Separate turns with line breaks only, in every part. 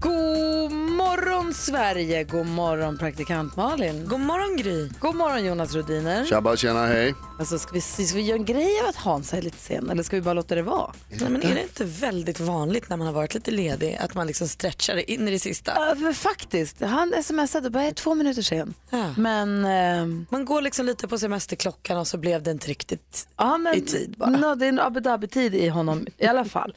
God morgon Sverige, god morgon praktikant Malin.
God morgon Gry.
God morgon Jonas Rhodiner.
Tjabba, tjena, hej.
Alltså, ska, vi, ska vi göra en grej av att Hans är lite sen eller ska vi bara låta det vara?
Nej, men är det inte väldigt vanligt när man har varit lite ledig att man liksom stretchar det in i det sista?
Ja, men faktiskt. Han smsade och bara, jag är två minuter sen.
Ja.
Men... ehm,
Man går liksom lite på semesterklockan och så blev det inte riktigt
Ja, men,
i tid bara.
nå, det är en Abu Dhabi-tid i honom i alla fall.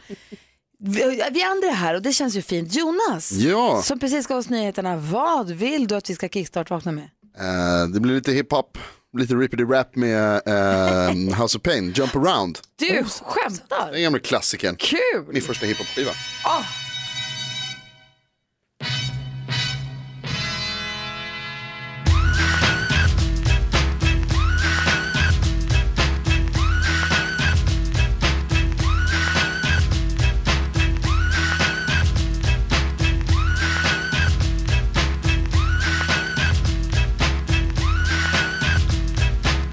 Vi, vi andra är här och det känns ju fint. Jonas,
Ja.
som precis gav oss nyheterna, vad vill du att vi ska kickstart-vakna med?
Eh, det blir lite hiphop, lite rippity-rap med eh, House of Pain, Jump Around.
Du skämtar!
Den gamla klassikern.
Kul!
Min första hiphop-skiva.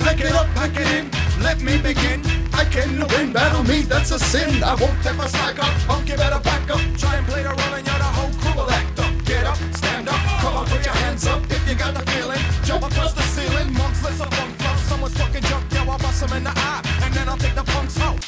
Pack it up, pack it in, let me begin. I cannot win, battle me, that's a sin. I won't take my slack up, punky better back up. Try and play the role and you're the whole crew will act up. Get up, stand up, come on, put your hands up if you got the feeling. Jump across the ceiling, monks, let's up on flop. Someone's fucking junk, yo, I'll bust 'em in the eye, and then I'll take the punks out.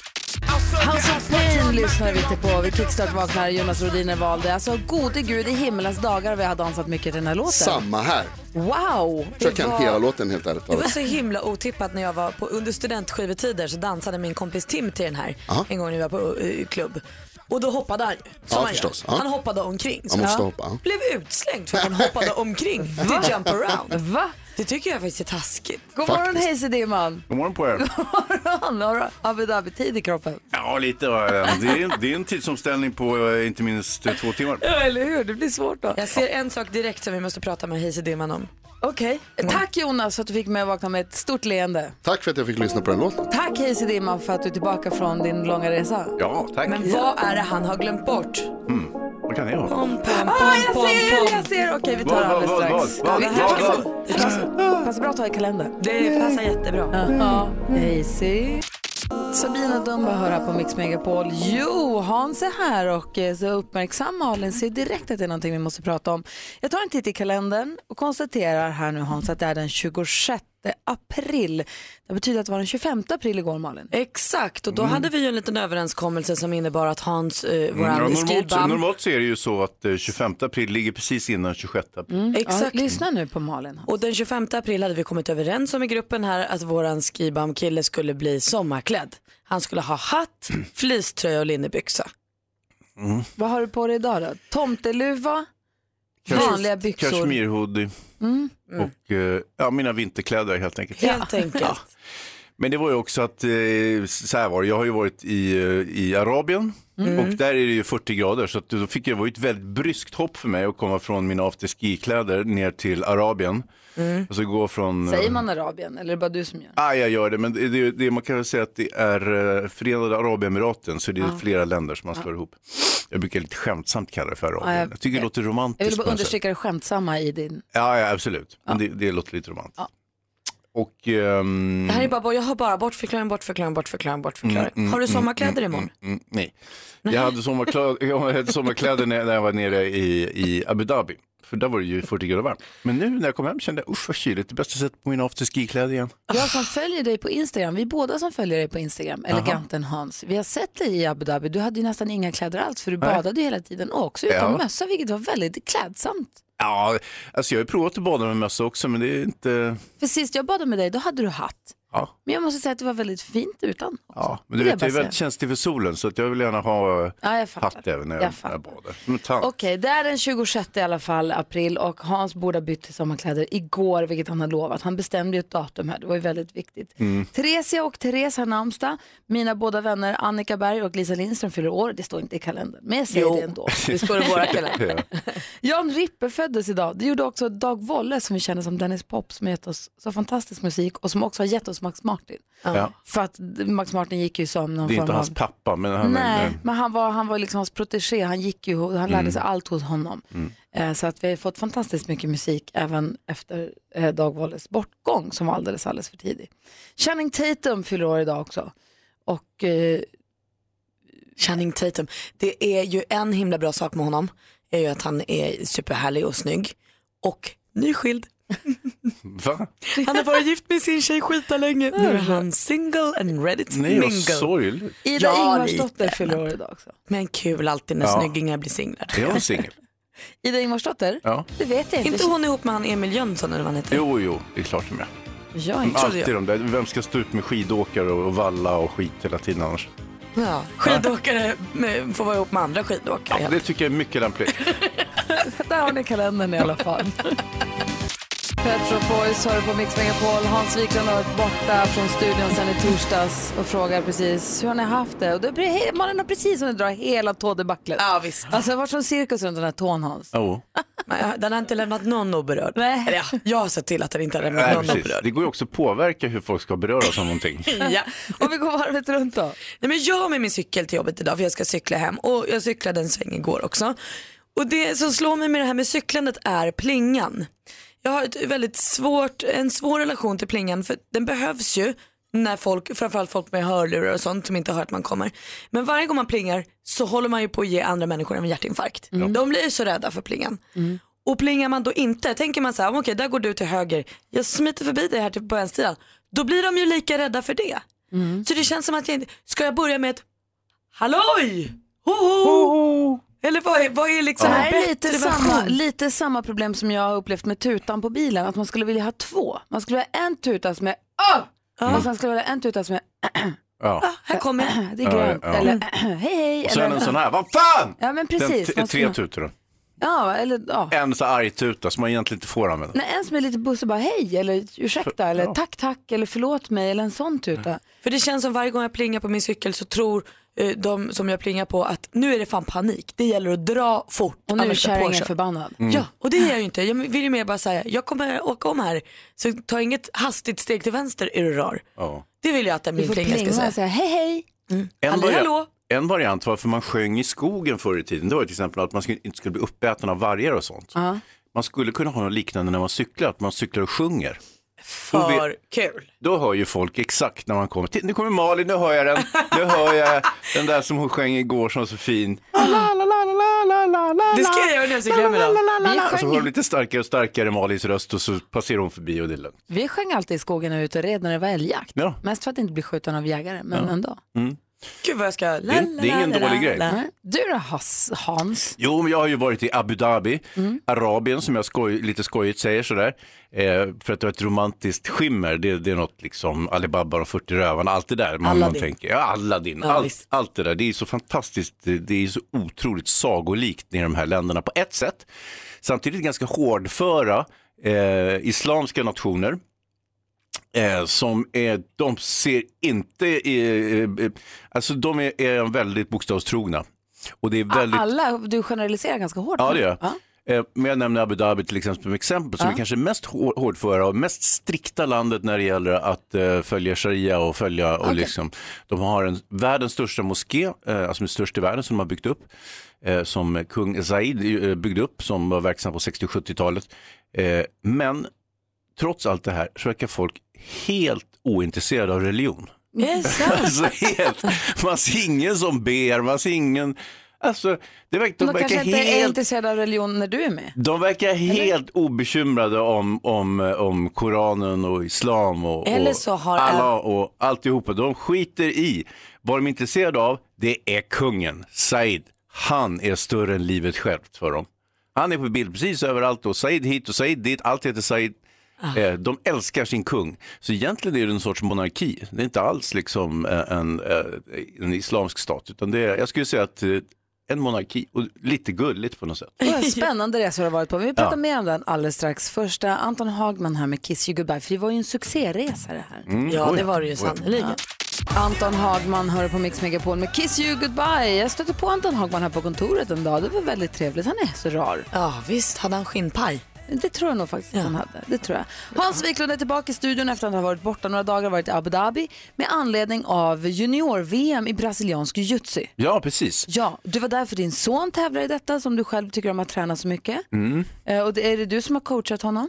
House of Pain lyssnar vi till på. Vi kickstart-vaknar, Jonas Rhodiner valde. Alltså, gode gud i himmelens dagar vi har dansat mycket till den här låten.
Samma här.
Wow!
Jag tror jag kan hela låten helt ärligt
Det var
talat.
så himla otippat när jag var på, under studentskivetider så dansade min kompis Tim till den här
Aha.
en gång när vi var på eh, klubb. Och då hoppade han ju, som
Ja,
han, gör.
förstås. Ja.
han hoppade omkring. Så
Man måste hoppa. ja.
Blev utslängd för att han hoppade omkring till jump around.
Va?
Det tycker jag faktiskt är taskigt.
God
Faktiskt.
morgon Hayes Dimman!
God morgon på er.
Morgon! Har du Abu Dhabi-tid i kroppen?
Ja, lite. va. Det är, det är en tidsomställning på eh, inte minst eh, två timmar.
Ja, eller hur? Det blir svårt då.
Jag ser en sak direkt som vi måste prata med Hayes Dimman om. Mm.
Okej. Tack Jonas för att du fick mig att vakna med ett stort leende.
Tack för att jag fick lyssna på den låten.
Tack Hayes Dimman för att du är tillbaka från din långa resa.
Ja, tack.
Men vad är det han har glömt bort?
Vad kan det vara?
Pom, pom,
Ah,
pom,
jag
pom,
ser,
pom.
jag ser! Okej, vi tar
Vad,
det
vad,
alldeles
vad,
strax.
vad, vad,
Det här
vad,
ska- det passar- Passar bra att ha i kalendern.
Det passar jättebra.
Ja, Hazy. Mm. Sabina Dumba hör här på Mix Megapol. Jo, Hans är här och eh, så uppmärksam Malin ser direkt att det är någonting vi måste prata om. Jag tar en titt i kalendern och konstaterar här nu Hans att det är den 26 april. Det betyder att det var den 25 april igår Malin.
Exakt, och
Mm.
då hade vi ju en liten överenskommelse som innebar att Hans, eh,
Ja,
våran
normalt,
skrivband,
normalt så är det ju så att eh, 25 april ligger precis innan 26 april.
Mm.
Mm. Ja,
exakt.
lyssna nu på Malin.
Och den 25 april hade vi kommit överens om i gruppen här att våran skrivbandkille skulle bli sommarklädd. Han skulle ha hatt,
Mm.
fleecetröja och linnebyxa.
Vad har du på dig idag då? Tomteluva,
Kanske-
vanliga byxor. Mm.
Kashmirhoodie och eh, ja, mina vinterkläder helt enkelt.
Mm. Helt enkelt.
Mm. Men det var ju också att, eh, så här var det, jag har ju varit i, eh, i Arabien och där är det ju 40 grader så att då fick jag, det var ju ett väldigt bryskt hopp för mig att komma från mina afterski-kläder ner till Arabien. Och så gå från... eh,
Säger man Arabien eller är det bara du som gör?
Ah, jag gör det, men det, det, det, man kan väl säga att det är eh, Förenade Arabemiraten, så det
Ah.
är flera länder som man slår ihop. Jag brukar lite skämtsamt kalla det för Arabien.
Ja, Ah, jag-
jag, tycker det låter romantiskt.
Jag vill bara Ah.
på något sätt.
understryka det skämtsamma i din...
Ja, ja absolut. Men det, det låter lite romantiskt.
Ja.
Och... ehm,
Det här är bara, jag har bara bortförklaring, bortförklaring, bortförklaring, bortförklaring. har du sommarkläder imorgon?
Mm, nej. Jag hade sommarkläder, jag hade sommarkläder när när jag var nere i, i Abu Dhabi. För där var det ju 40 grader varmt. Men nu när jag kom hem kände jag, usch vad kyligt, det är bäst att sätta på mina afterski-kläder igen.
Jag som följer dig på Instagram, vi båda som följer dig på Instagram, eleganten Hans, vi har sett dig i Abu Dhabi. Du hade ju nästan inga kläder alls för du badade ju hela tiden och också utan
Ja.
mössa vilket var väldigt klädsamt.
Ja, alltså jag har ju provat att bada med mössa också, men det är inte...
För sist jag badade med dig, då hade du hatt.
Ja,
Men jag måste säga att det var väldigt fint utan. också.
ja. men du
Det
vet, jag är
bara
väldigt känslig för solen, så att jag vill gärna ha eh,
Ja, jag fattar.
hatt även när
Jag
jag, när
fattar.
jag badar. Mm, Som en tant.
Okej, det är den 26 i alla fall, april och Hans borde ha bytt till sommarkläder igår, vilket han har lovat. Han bestämde ju ett datum här, det var ju väldigt viktigt.
Mm.
Theresia och Therese har namnsdag. Mina båda vänner Annika Berg och Lisa Lindström fyller år. Det står inte i kalendern, men jag säger
Jo.
det ändå.
Det står i våra kalendrar.
Ja.
Jan Rippe föddes idag. Det gjorde också Dag Wolle som vi känner som Dennis Pop som gett oss så fantastisk musik och som också har gett oss Max Martin.
Ja.
För att Max Martin gick ju som någon
Det är
form
inte
av...
hans pappa, men eh, han
Nej,
är...
men han var, han var liksom hans protege. Han gick ju, han
Mm.
lärde sig allt hos honom. Eh, Så att vi har fått fantastiskt mycket musik även efter eh, Dag Wolles bortgång som var alldeles, alldeles för tidig. Channing Tatum fyller år idag också.
och eh, Channing Tatum. Det är ju en himla bra sak med honom, är ju att han är superhärlig och snygg och nyskild.
Va?
Han har varit gift med sin tjej skita länge. Nu är han single and ready to
Nej, vad
mingle.
sorgligt.
Ida
Ja,
Ingvarsdotter fyller år idag också.
Men kul alltid när
Ja.
snyggingar blir singlar.
Är hon singel?
Ida Ingvarsdotter?
Ja.
Det vet jag inte.
Inte hon ihop med han Emil Jönsson eller vad han heter?
Jo, jo, det är klart de är.
Jag är inte.
Trodde jag.
Alltid de där. Vem ska stå ut med skidåkare och valla och skit hela tiden annars?
Ja. Skidåkare med, får vara ihop med andra skidåkare.
Ja, det tycker jag är mycket lämpligt.
Där har ni kalendern i alla fall. Pet Shop Boys hör på Mix Megapol. Hans Wiklund har varit borta från studion sedan i torsdags och frågar precis hur har ni haft det? Och det blir, man har precis hunnit dra hela tådebaclet.
Ja, visst.
Alltså det har varit som cirkus runt den här tån Hans.
Jo.
Men jag- Den har inte lämnat någon oberörd.
Nej.
Eller ja, jag har sett till att den inte har lämnat
Nej,
någon
precis.
oberörd.
Det går ju också att påverka hur folk ska beröras av någonting.
Ja.
Om vi går varvet runt då.
Nej, men jag har med min cykel till jobbet idag för jag ska cykla hem och jag cyklade en sväng igår också. Och det som slår mig med det här med cyklandet är plingan. Jag har ett väldigt svårt, en svår relation till plingan för den behövs ju när folk, framförallt folk med hörlurar och sånt som inte hör att man kommer. Men varje gång man plingar så håller man ju på att ge andra människor en hjärtinfarkt.
Mm.
De blir ju så rädda för plingan. Och plingar man då inte, tänker man så här, okej där går du till höger, jag smiter förbi dig här till på vänstersidan. Då blir de ju lika rädda för det.
Mm.
Så det känns som att jag inte, ska jag börja med ett halloj? Hoho! Eller vad är, vad är liksom
Det
en
här är
bättre
lite
version?
samma, lite samma problem som jag har upplevt med tutan på bilen. Att man skulle vilja ha två. Man skulle ha en tuta som är Åh! Och sen skulle man ha en tuta som är
Ja.
Här kommer jag.
det är grönt.
ja.
Eller hej hej.
Och sen
eller,
en sån här, vad fan!
Ja men
Den
precis.
t-
Man skulle-
tre tutor då.
Ja, eller ja.
En så arg tuta som man egentligen inte får använda.
Nej, en som är lite bussig bara hej eller ursäkta eller tack tack eller förlåt mig eller en sån typ tuta.
För det känns som varje gång jag plingar på min cykel så tror eh, de som jag plingar på att nu är det fan panik. Det gäller att dra fort.
Och nu är
annars blir jag
kärringen
påkörd.
förbannad. Mm.
Ja, och det är jag ju inte. Jag vill ju mer bara säga, jag kommer åka om här. Så ta inget hastigt steg till vänster är du rar.
Ja.
Det vill jag att
Du
min
får
plinga
plinga
ska säga.
och säga hej hej.
En,
Hallå,
varia-
hallå.
en variant varför man sjöng i skogen förr i tiden, det var ju till exempel att man skulle, inte skulle bli uppäten av vargar och sånt. Man skulle kunna ha något liknande när man cyklar, att man cyklar och sjunger.
För kul.
Då hör ju folk exakt när man kommer. Titta, nu kommer Malin, nu hör jag den. Nu hör jag den där som hon sjöng igår som var så fin.
Det ska jag göra när jag cyklar hem idag.
Vi
Och så hör de
sjöng,
lite starkare och starkare Malins röst och så passerar hon förbi och det är lugnt.
vi sjöng alltid i skogen när vi var ute och red när det var älgjakt.
Ja.
Mest för att inte bli skjuten av jägare, men ändå.
Mm.
Gud vad jag ska... la,
är ingen
la, la,
dålig
la,
grej.
la.
Nej. Du då Hans? Hans?
Jo, men jag har ju varit i Abu Dhabi, Arabien som jag skoj, lite skojigt säger sådär. Eh, för att det har ett romantiskt skimmer, det, det är något liksom Alibaba och 40 rövarna, allt det där. Man, man
Aladdin.
tänker, ja, Aladdin,
Ja,
allt,
visst.
allt det där. Det är så fantastiskt, det, det är så otroligt sagolikt i de här länderna på ett sätt. Samtidigt ganska hårdföra eh, islamska nationer. Eh, som är, de ser inte, eh, eh, alltså de är, är väldigt bokstavstrogna. Och det är väldigt...
Alla, du generaliserar ganska hårt.
Ja,
nu.
det gör jag. Eh, Men jag nämner Abu Dhabi till exempel som exempel som är kanske mest hår- hårdföra och mest strikta landet när det gäller att eh, följa sharia och följa och liksom. De har en, världens största moské, eh, alltså den största i världen som de har byggt upp, eh, som kung Zaid eh, byggde upp som var verksam på 60-70-talet. Eh, men trots allt det här så verkar folk helt ointresserade av religion.
Det är sant.
Alltså helt, man ser ingen som ber, man ser ingen, alltså det verkar, de
De kanske
verkar
inte är
helt
intresserade av religion när du är med.
de verkar helt obekymrade om, om, om Koranen och Islam och,
Eller
och
så har-
Allah och alltihopa. De skiter i. Vad de är intresserade av, det är kungen, Said. Han är större än livet självt för dem. Han är på bild precis överallt och Said hit och Said dit, allt heter Said.
Ah.
Eh, De älskar sin kung. Så egentligen är det en sorts monarki. Det är inte alls liksom eh, en, eh, en islamsk stat. Utan det är, jag skulle säga att eh, en monarki, och lite gulligt på något sätt.
Vad spännande resor har varit på. Men vi pratar
Ja.
mer om den alldeles strax. Första Anton Hagman här med Kiss You Goodbye, för det var ju en succéresa det här.
Ja,
Mm. Oj.
det var det ju sannerligen.
Anton Hagman hör på Mix Megapol med Kiss You Goodbye. Jag stötte på Anton Hagman här på kontoret en dag. Det var väldigt trevligt. Han är så rar.
Ja, visst hade han skinnpaj.
Det tror jag nog faktiskt att han hade. Det tror jag. Hans Wiklund är tillbaka i studion efter att ha varit borta några dagar, varit i Abu Dhabi med anledning av junior-VM i brasiliansk jujutsu.
Ja, precis.
Ja, du var där för din son tävlar i detta som du själv tycker om att träna så mycket. Eh, Och det- är det du som har coachat honom?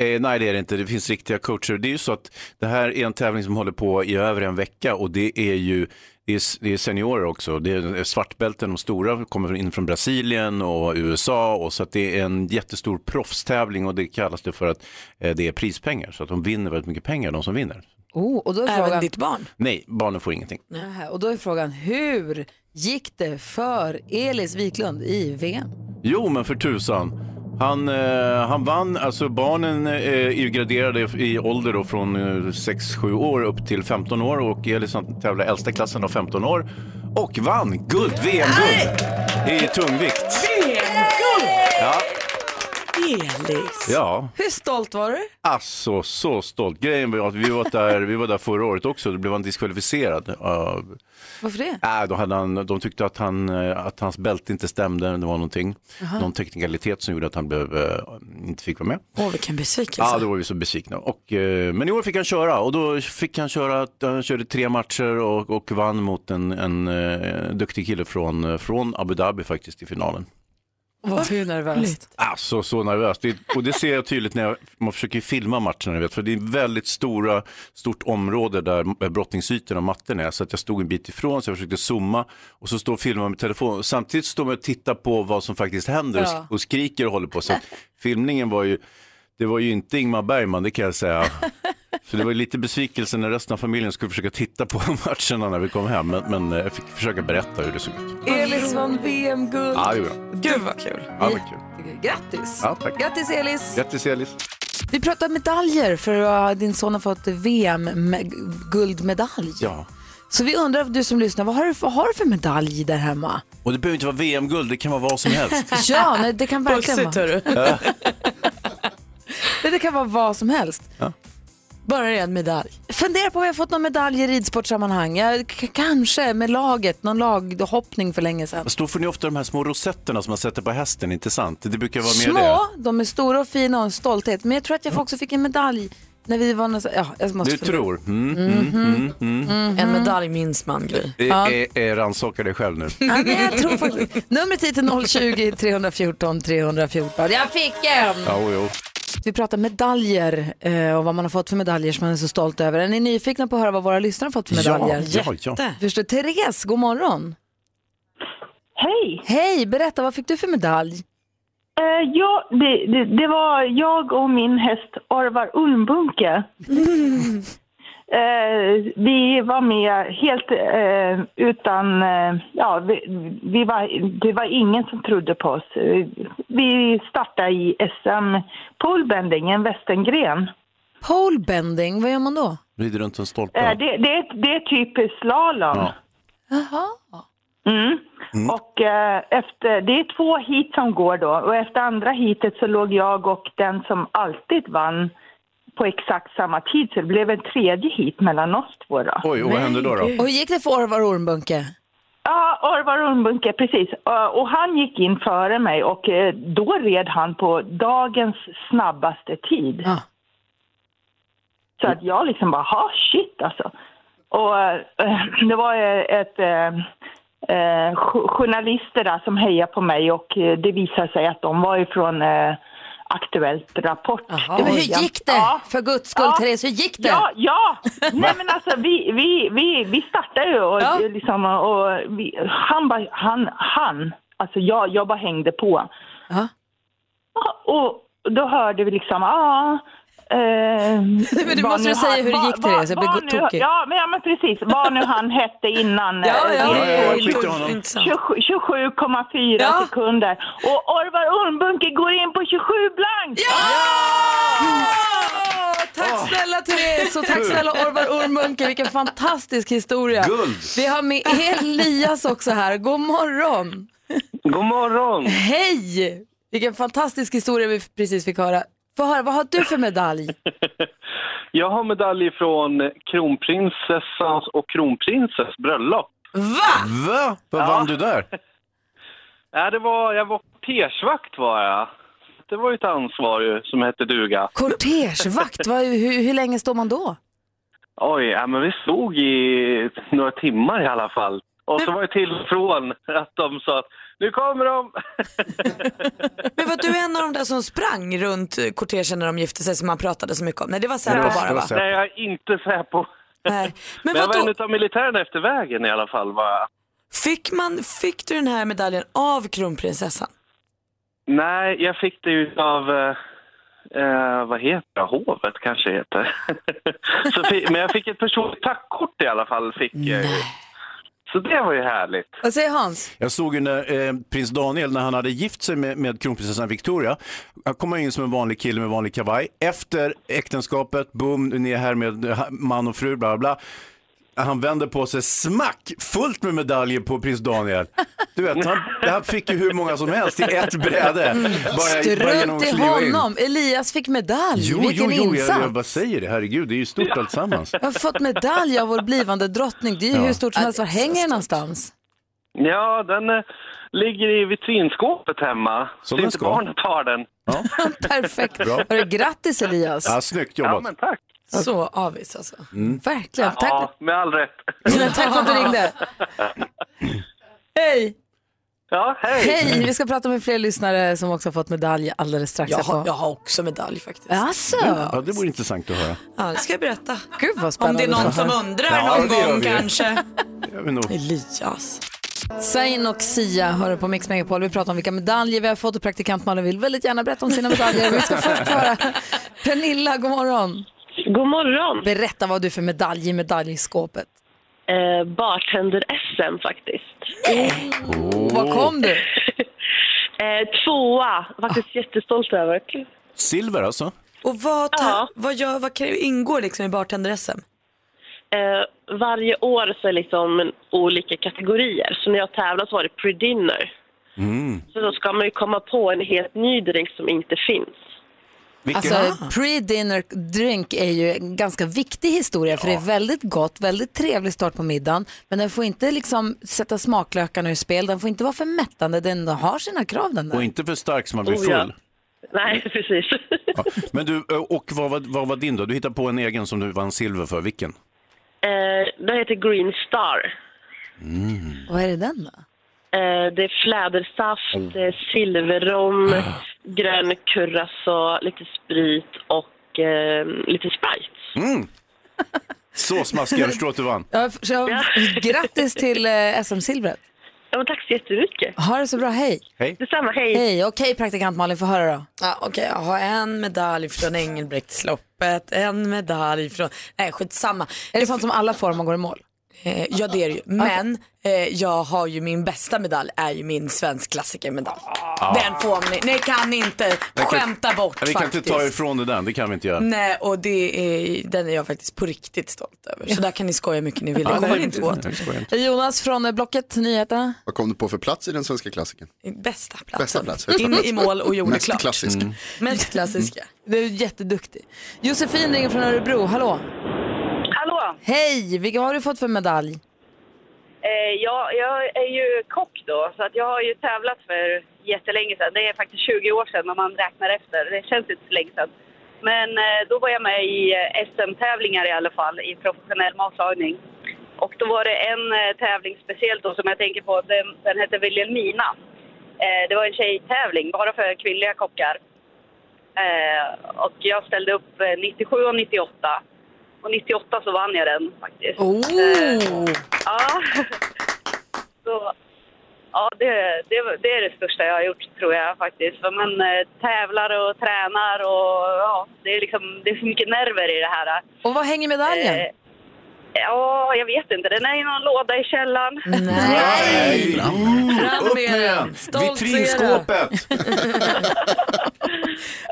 Mm. Eh, nej, det är det inte. Det finns riktiga coacher. Det är ju så att det här är en tävling som håller på i över en vecka och det är ju det är, det är seniorer också. Det är eh, svartbälten, de stora kommer in från Brasilien och USA och så att det är en jättestor proffstävling och det kallas det för att eh, det är prispengar. Så att de vinner väldigt mycket pengar, de som vinner.
Oh, och, då är
Även
frågan,
ditt barn.
Nej, barnen får ingenting.
Nähä, Eh, och då är frågan, hur gick det för Elis Wiklund i VM?
Jo, men för tusan. Han, eh, han vann, alltså barnen eh, är ju graderade i ålder då från eh, 6-7 år upp till 15 år och Elis han tävlar i äldsta klassen av 15 år och vann guld, VM-guld i tungvikt. Ja,
Elis.
ja.
Hur stolt var du?
Alltså så stolt. Grejen var ju att vi var där, vi var där förra året också, då blev han diskvalificerad. av-
Varför det?
Nej, då hade han, de tyckte att, han, eh, att hans bälte inte stämde, det var någonting, någon teknikalitet som gjorde att han blev, eh, inte fick vara med.
Åh, vilken besvikelse.
Ja, då var vi så besvikna. Och, eh, men i år fick han köra och då fick han köra, han körde tre matcher och, och vann mot en, en eh, duktig kille från, eh, från Abu Dhabi faktiskt i finalen.
Var hur nervöst?
Alltså så nervös. Det, och det ser jag tydligt när jag, man försöker filma matcherna. ni Vet, för det är väldigt stora, stort område där brottningsytorna och matten är. Så att jag stod en bit ifrån så jag försökte zooma och så står och filmar med telefon. Samtidigt står man och tittar på vad som faktiskt händer och,
Ja.
och skriker och håller på. Så att filmningen var ju, det var ju inte Ingmar Bergman, det kan jag säga. Så det var ju lite besvikelse när resten av familjen skulle försöka titta på matcherna när vi kom hem. Men, men eh, jag fick försöka berätta hur det såg ut.
Elis vann VM-guld.
Ja, det var bra.
Gud vad kul.
Ja, det var kul.
Grattis!
Ja, tack.
Grattis Elis!
Grattis Elis.
Vi pratar medaljer för att din son har fått VM-guldmedalj.
Ja.
Så vi undrar, du som lyssnar, vad har du, vad har du för medalj där hemma?
Och det behöver inte vara VM-guld, det kan vara vad som helst.
Ja, nej, det kan verkligen
Bussigt
vara,
hörru.
nej, det kan vara vad som helst.
Bara det är en medalj.
Fundera på om jag har fått någon medalj i ridsportsammanhang. Jag, k- kanske med laget, någon laghoppning för länge sedan.
Fast då får ni ofta de här små rosetterna som man sätter på hästen, inte sant? Det brukar vara mer det. Mm.
Små, de är stora och fina och en stolthet. Men jag tror att jag också fick en medalj när vi var någonstans. Ja, jag måste Mhm.
Du
fundera.
tror? Mm, mm, mm, mm.
En medalj minns man Gry.
Eh, eh, eh, Rannsaka dig själv nu.
Ja, men jag tror faktiskt. Numret hit är 020 314 314. Jag fick en!
Ja, jo, jo.
Vi pratar medaljer eh, och vad man har fått för medaljer som man är så stolt över. Är ni nyfikna på att höra vad våra lyssnare har fått för medaljer?
Ja, ja, ja.
Förstår, Therese, god morgon.
Hej!
Hej, berätta, vad fick du för medalj?
Eh, ja, det, det, det var jag och min häst Orvar Ulmbunke. Eh, vi var med helt eh, utan... Eh, ja, vi, vi var, det var ingen som trodde på oss. Eh, Vi startade i SM Polebending, en västengren.
Polebending, vad gör man då?
Rider runt en stolpe.
Eh, det, det, är ett- det är typ slalom.
Ja.
Jaha.
Mm. Och eh, efter, det är två hit som går då och efter andra hitet så låg jag och den som alltid vann på exakt samma tid så det blev en tredje hit mellan oss två då.
Oj, och vad hände då? då?
Och hur gick det för Orvar Ormbunke?
Ja, Orvar Ormbunke, precis. Eh, Och han gick in före mig och eh, då red han på dagens snabbaste tid.
Ja.
Så att jag liksom bara, ha shit alltså. Och eh, det var eh, ett eh, eh, jo- journalister där som hejade på mig och eh, det visade sig att de var ifrån eh, Aktuellt Rapport.
Ja, men hur gick det?
Ja.
För guds skull,
Ja.
Therese, hur gick det?
Ja, ja! Nej men alltså vi, vi, vi, vi startade ju och,
Ja.
liksom, och vi, han bara, han, han, alltså jag, jag bara hängde på.
Ja.
Och då hörde vi liksom, ja... Eh,
men du
vad
måste
nu
ju säga
han-
hur det
vad-
gick till
vad-
det, så jag blir
vad
go-
nu-
tokig.
Ja, men, ja, men precis. Vad nu han hette innan. eh,
ja,
det-
ja,
det är
jag skickade honom.
intressant.
27 27,4
Ja.
sekunder. Och Orvar Ormbunke går in på 27 blankt!
Åh,
Ah.
Tack snälla Therese och tack snälla Orvar Ormbunke, vilken fantastisk historia.
Guld.
Vi har med Elias också här, god morgon.
God morgon!
Hej! Vilken fantastisk historia vi precis fick höra. Få höra, vad har du för medalj?
Jag har medalj från kronprinsessans och kronprinsess bröllop.
Va? Vad vann du där?
Ja, det var, jag var kortersvakt var jag. Det var ju ett ansvar ju, som hette duga.
Kortegevakt, vad- hur, hur länge står man då?
Oj, ja, men vi stod i några timmar i alla fall. Och så var jag till och från att de sa att nu kommer de.
Men var du en av de där som sprang runt eh, kortegen när de gifte sig som man pratade så mycket om? Nej, det var Säpo
Nej,
bara
det var
va?
Säpo.
Nej, jag är inte Säpo.
Nej. Men
Men jag var en
vadå,
utav militärerna efter vägen i alla fall. Va?
fick, man, fick du den här medaljen av kronprinsessan?
Nej, jag fick det ju av, eh, eh, vad heter det, hovet kanske heter. så fi- men jag fick ett personligt tackkort i alla fall. Fick jag ju. Så det var ju härligt.
Vad säger Hans?
Jag såg ju när eh, prins Daniel, när han hade gift sig med, med kronprinsessan Victoria, han kom han in som en vanlig kille med vanlig kavaj. Efter äktenskapet, boom, ni är här med eh, man och fru, bla bla. bla. Han vände på sig smack, fullt med medaljer på prins Daniel. Du vet, han, han fick ju hur många som helst i ett bräde. Bara, bara genom
Strunt
att
i
kliva in.
honom. Elias fick medalj.
Jo,
Vilken
jo, jo, jag,
insats.
jag bara säger det. Herregud, det är ju stort alltsammans.
Jag har fått medalj av vår blivande drottning. Det är ju hur stort som helst. Var hänger den någonstans?
Ja, den eh, ligger i vitrinskåpet hemma.
Som
så
den
inte
ska.
barnen tar den.
Perfekt.
Bra.
Hörru, grattis Elias.
Ja, snyggt
Ja,
jobbat.
men tack.
Så avis alltså.
Mm.
Verkligen. Tack,
Ja, med all rätt.
tack för att du ringde. Hej!
Ja, hej.
Hej! Vi ska prata med fler lyssnare som också har fått medalj alldeles strax.
Jag
här på-
har, jag har också medalj faktiskt.
Alltså,
Ja, det vore intressant att höra.
Ja, det ska jag berätta.
gud vad
Om
spännande.
det är någon
att
som
höra.
undrar
Ja,
någon
det gör
gång
vi.
kanske.
Jag vill nog
Elias.
Zayn och Sia hör du på Mix Megapol. Vi pratar om vilka medaljer vi har fått och praktikant Malin vill väldigt gärna berätta om sina medaljer. Vi ska först höra Pernilla, god morgon.
God morgon.
Berätta vad du för medalj i medaljskåpet.
Eh, Bartender-SM faktiskt.
Var kom du?
Eh, tvåa. Faktiskt jättestolt över.
Silver alltså?
Och vad, tar,
Ja.
vad, gör, vad kan- ingår liksom i bartender-SM?
Eh, varje år så är liksom en- olika kategorier. Så när jag tävlade så var det pre-dinner.
Mm.
Så då ska man ju komma på en helt ny drink som inte finns.
Vilken?
Alltså pre-dinner drink är ju en ganska viktig historia för det är väldigt gott, väldigt trevlig start på middagen. Men den får inte liksom sätta smaklökarna ur spel, den får inte vara för mättande, den har sina krav den
Och
där.
inte för stark så man blir
Oh, ja.
full.
Nej, precis.
Ja. Men du, ö, och vad var, vad var din då? Du hittade på en egen som du vann silver för. Vilken?
eh, den heter Green Star.
Vad är det den då?
Eh, det är
Mm.
flädersaft, det är silverrom,
Ah.
grön curacao, lite sprit och eh, lite Sprite.
Mm. Så smaskig, jag förstår att du vann.
Ja, så jag, grattis till eh, SM-silvret.
Ja, men tack så jättemycket.
Ha det så bra, hej.
Detsamma, hej.
Hej, okej praktikant Malin, får höra då.
Ja, Okej, jag har en medalj från Engelbrektsloppet, en medalj från... Nej, skitsamma.
Är det sånt som alla får om man går i mål? Ah,
Eh, ja, det är det ju. Men eh, jag har ju min bästa medalj, är ju min svensk klassikermedalj. Den får ni. Ni kan inte skämta bort
Vi Ah. kan
faktiskt.
inte ta ifrån dig den, det kan vi inte göra.
Nej, och det är, den är jag faktiskt på riktigt stolt över. Så där kan ni skoja hur mycket ni vill. Det kommer inte åt.
Nej, jag skojar inte.
Jonas från eh, Blocket, nyheterna.
Vad kom du på för plats i den svenska klassiken?
Bästa platsen.
Bästa plats, högsta
In
plats.
i mål och gjorde
Mest
klart.
klassisk.
Mm.
Mest klassiska.
Mm. Du är jätteduktig. Josefin ringer från Örebro, hallå.
Hallå!
Hej, vilka har du fått för medalj?
Eh, jag, jag är ju kock då, så att jag har ju tävlat för jättelänge sedan. Det är faktiskt 20 år sedan om man räknar efter. Det känns inte så länge sedan. Men eh, då var jag med i eh, SM-tävlingar i alla fall, i professionell matlagning. Och då var det en eh, tävling speciellt då som jag tänker på, den, den hette Vilhelmina. Eh, det var en tjejtävling bara för kvinnliga kockar. Eh, och jag ställde upp eh, 97 och 98. Och 98 så vann jag den faktiskt.
Oh.
Ja. Så, ja, det, det, det är det största jag har gjort tror jag faktiskt. För man eh, tävlar och tränar och ja, det är liksom, det är så mycket nerver i det här.
Och vad hänger medaljen?
Eh, Ja, jag vet inte. Den är i någon låda i källaren.
Nej! Mm.
Fram
Upp
med
med
den.
den!
Stoltsera.
Vitrinskåpet!
Ja,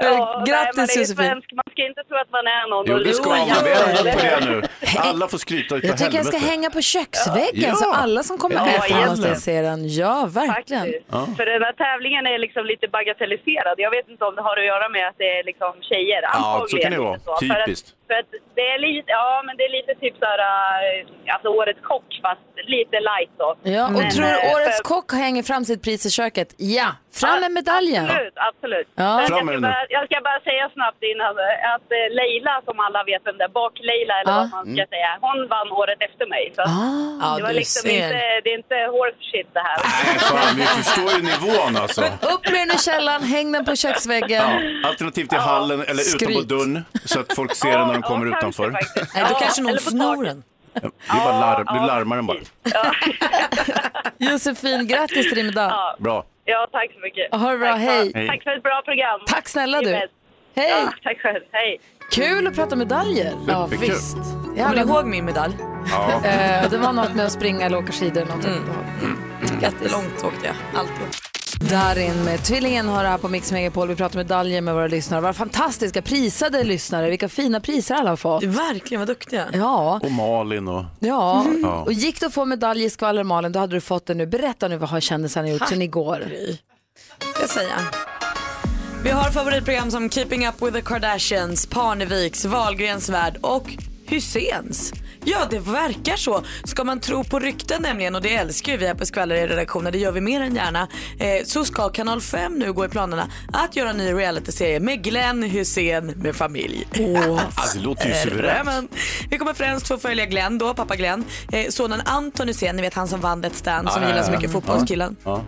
nej, man
Grattis
är ju
Josefin.
svensk. Man ska inte tro att man är någon.
Jo, det ska man. Vi har ändrat på det nu. Alla får skryta utav
Jag tycker jag ska
helvete.
hänga på köksväggen
Ja.
så alla som kommer
Ja,
ut
egentligen.
måste se den. Ja, verkligen.
Faktiskt. För den här tävlingen är liksom lite bagatelliserad. Jag vet inte om det har att göra med att det är liksom tjejer.
Ja, så kan det
Antagligen
vara.
inte så. För att-
Typiskt.
För att det är lite, ja men det är lite typ såhär, eh, alltså årets kock fast lite light då.
Ja, och
Men,
tror
eh,
årets
för-
kock hänger fram sitt pris i köket? Ja, fram med medaljen.
Absolut, absolut.
Ja.
Men
Fram
Jag,
med
ska
den nu.
bara, jag ska bara säga snabbt innan eh, att eh, Leila, som alla vet vem det är, Bak-Leila eller
Ja.
vad man ska
Mm.
säga, hon vann året efter mig. Så att
Ah.
Ja,
det, var
du
liksom
ser.
inte, det är inte horse shit det här.
Nej, fan, vi förstår ju nivån alltså.
Upp med den i källaren, häng den på köksväggen.
Ja, alternativt i hallen eller utanpå
Skryt.
dörren så att folk ser den när de
Ja,
kommer
ja, kanske
utanför.
faktiskt.
Nej, då
Ja,
kanske någon
eller på
snor
taket.
den.
Vi bara larm, vi
Ja,
larmar den bara.
Josefin, grattis till din dag.
Bra.
Ja, tack så mycket.
Ha det bra,
tack,
hej.
För, tack för ett bra program.
Tack snälla
Ni är
du.
bäst.
Hej!
Ja, tack själv. Hej.
Kul att prata medaljer.
Ja, Superkul. visst.
Kommer
Jävla,
du ihåg min medalj?
Ja. Mm.
eh, det var något med att springa eller åka skidor. eller Något Grattis.
Jättelångt åkte jag. Alltid.
Darin med Tvillingen har det här på Mix Megapol. Vi pratar medaljer med våra lyssnare. Våra fantastiska prisade lyssnare. Vilka fina priser alla har fått.
Verkligen, vad duktiga. Mm.
Ja,
Och Malin och...
ja.
Ja.
Och gick du att få medalj i skvallermalen, då hade du fått den nu. Berätta nu vad har kändisarna gjort sen igår.
ska jag säga. Vi har favoritprogram som Keeping Up With The Kardashians, Parneviks, Wahlgrens Värld och Hyséns. Ja, det verkar så. Ska man tro på rykten nämligen, och det älskar ju vi här på Skvaller i redaktionen, det gör vi mer än gärna, eh, så ska Kanal 5 nu gå i planerna att göra en ny realityserie med Glenn Hussein med familj.
Alltså, det låter ju
Eh,
suveränt.
Jajamän. Vi kommer främst få följa Glenn då, pappa Glenn. Eh, sonen Anton Hysén, ni vet han som vann Let's Dance, som
Ja,
gillar
ja,
så
ja.
mycket fotbollskillen.
Ja.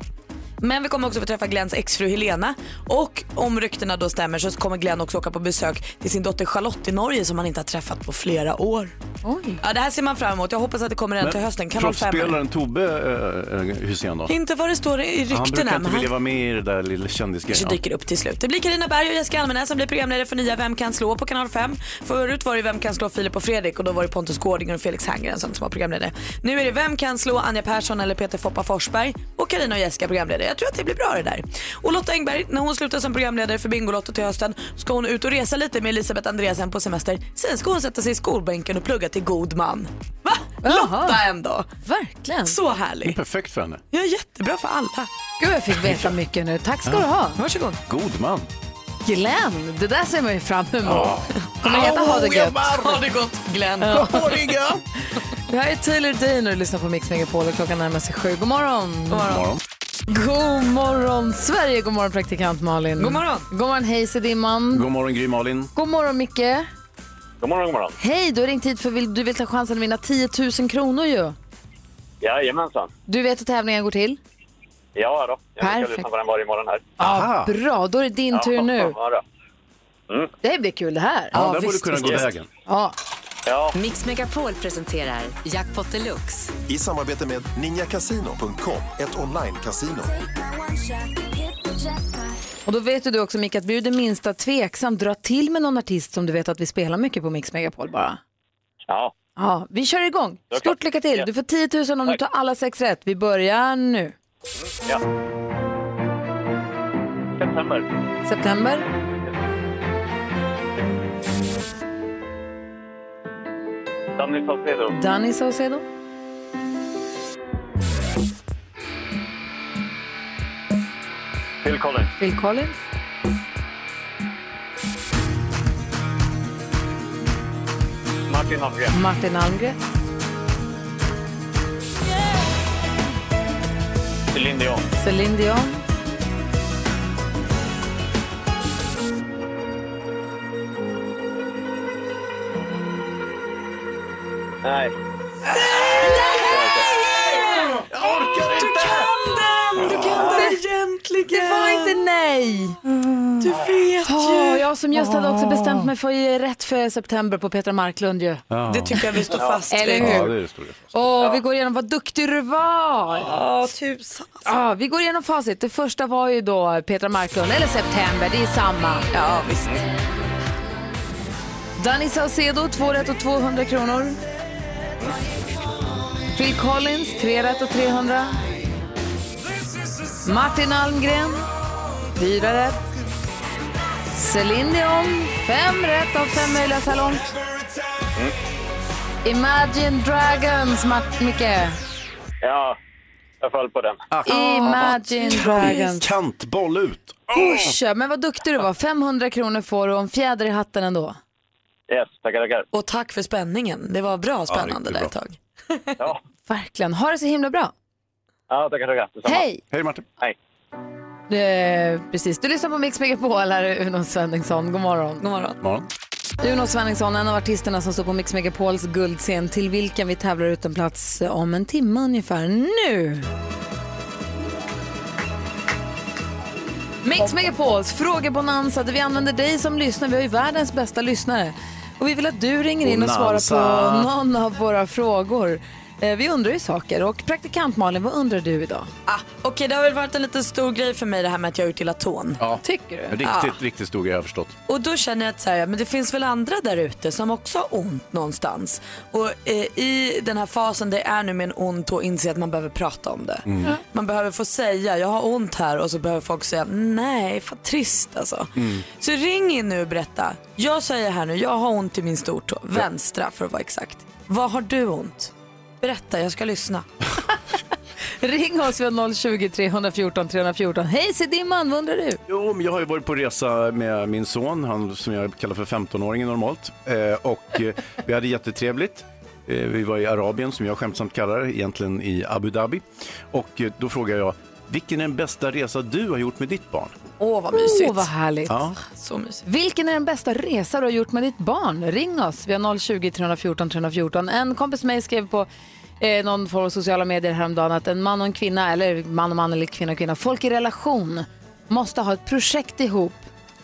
Men vi kommer också få träffa Glenns exfru Helena och om ryktena då stämmer så kommer Glenn också åka på besök till sin dotter Charlotte i Norge som han inte har träffat på flera år.
Oj.
Ja, det här ser man fram emot. Jag hoppas att det kommer redan till hösten. Kanal 5.
Proffsspelaren Tobbe eh, eh, Hysén då?
Inte vad det står i
Han
ryktena.
brukar inte
men
vilja vara med i det där lilla kändisgrejen.
kanske dyker upp till slut. Det blir Karina Berg och Jessica Almenäs som blir programledare för nya Vem kan slå på kanal 5. Förut var det Vem kan slå Filip och Fredrik och då var det Pontus Gårdinger och Felix Herngren som var programledare. Nu är det Vem kan slå Anja Persson eller Peter Foppa Forsberg och Karina och Jessica programledare. Jag tror att det blir bra det där. Och Lotta Engberg, när hon slutar som programledare för Bingolotto till hösten ska hon ut och resa lite med Elisabeth Andreasen på semester. Sen ska hon sätta sig i skolbänken och plugga till god man. Va? Lotta ändå!
Verkligen.
Så härlig.
Perfekt för henne.
Ja, jättebra för alla.
Gud, jag fick veta mycket nu. Tack ska du ha.
Varsågod.
God man.
Glenn, det där ser man ju fram emot. Kommer heta Ha det gött.
Ha det gott Glenn.
Det här är Taylor Day när du lyssnar på Mix Megapol och klockan närmar sig sju. God morgon!
God morgon.
Morgon.
God morgon Sverige, god morgon praktikant Malin.
God morgon.
God morgon Hayes i dimman.
God morgon Gry Malin.
God morgon Micke.
God morgon, god morgon.
Hej, du har ringt hit för vill- du vill ta chansen att vinna 10 000 kronor ju.
Jajamensan.
Du vet hur tävlingen går till?
Ja då, jag brukar
Perfekt.
lyssna på den varje morgon här.
Aha.
Bra, då är det din tur nu.
Ja, Mm. då.
Det blir kul det här.
Ja, där borde
visst,
kunna gå
visst.
vägen.
Ja.
Ja,
Mix Megapol presenterar Jackpot Deluxe.
I samarbete med ninjakasino.com, ett online-casino.
Och då vet ju du också Micke att blir du det minsta tveksam, dra till med någon artist som du vet att vi spelar mycket på Mix Megapol bara.
ja.
Ja, vi kör igång.
Såklart.
Stort lycka till.
Ja.
Du får 10 000 om du tar alla sex rätt. Vi börjar nu.
September.
September.
Danny Saucedo.
Danny Saucedo.
Phil Collins.
Phil Collins.
Martin Hallgren.
Martin Almgren.
Céline Dion.
Céline Dion.
Nej.
Du kan den! Du kan den egentligen!
Det var inte nej!
Du vet
Åh,
ju! Ah.
jag som just hade också bestämt mig för att ge rätt för september på Petra Marklund ju.
Ja.
Det tycker jag vi står fast vid.
Eller
Ja,
hur?
det är det stora.
Åh, vi går igenom vad duktig du var.
Ja, tusan.
Ja, vi går igenom facit. Det första var ju då Petra Marklund, eller September, det är samma.
Ja, visst.
Danny Saucedo, 2 rätt och 200 kronor. Phil Collins, 3 rätt och 300. Martin Almgren, 4 rätt. Céline Dion, 5 rätt av 5 möjliga så här långt. Imagine Dragons, Mart- Micke.
Ja, jag föll på den.
Imagine Dragons.
Ah. Kantboll ut.
Pusha, men vad duktig du var. 500 kronor får du om fjäder i hatten ändå.
Yes, tackar, tackar.
Och tack för spänningen. Det var bra spännande
riktigt
där
bra.
ett tag.
Ja,
Verkligen. Ha det så himla bra.
ja tackar, tackar. Detsamma.
Hej!
Hej Martin.
Eh, precis, du lyssnar på Mix Megapol. Här är Uno Svensson. God morgon.
God morgon.
Morgon.
Juno Svenningsson, en av artisterna som står på Mix Megapols guldscen till vilken vi tävlar ut en plats om en timme ungefär nu. Mix Megapols frågebonanza där vi använder dig som lyssnare. Vi har ju världens bästa lyssnare. Och vi vill att du ringer in och svarar på
Bonanza.
någon av våra frågor. Eh, Vi undrar ju saker. Och praktikant Malin, vad undrar du idag?
Ah, Okej, det har väl varit en liten stor grej för mig det här med att jag har gjort illa tån.
Ja.
Tycker du?
Riktigt,
Ja.
riktigt stor grej har jag förstått.
Och då känner jag att så här, ja, men det finns väl andra där ute som också har ont någonstans. Och eh, i den här fasen det är nu med en ont och inse att man behöver prata om det.
Mm.
Man behöver få säga, jag har ont här och så behöver folk säga, nej, vad trist alltså. Så ring in nu och berätta. Jag säger här nu, jag har ont i min stortå, vänstra för att vara exakt. Vad har du ont? Berätta, jag ska lyssna.
Ring oss vid 020-314 314. Hej Sedimman, vad undrar du?
Jo, men jag har ju varit på resa med min son, han som jag kallar för 15-åringen normalt. Eh, och eh, vi hade jättetrevligt. Eh, vi var i Arabien, som jag skämtsamt kallar det, egentligen i Abu Dhabi. Och eh, då frågar jag, vilken är den bästa resa du har gjort med ditt barn?
Åh, vad
mysigt. vad härligt.
Ja.
Så mysigt.
Vilken är den bästa resa du har gjort med ditt barn? Ring oss. Vi har 020-314 314. En kompis med mig skrev på eh, någon form av sociala medier häromdagen att en man och en kvinna, eller man och man eller kvinna och kvinna, folk i relation måste ha ett projekt ihop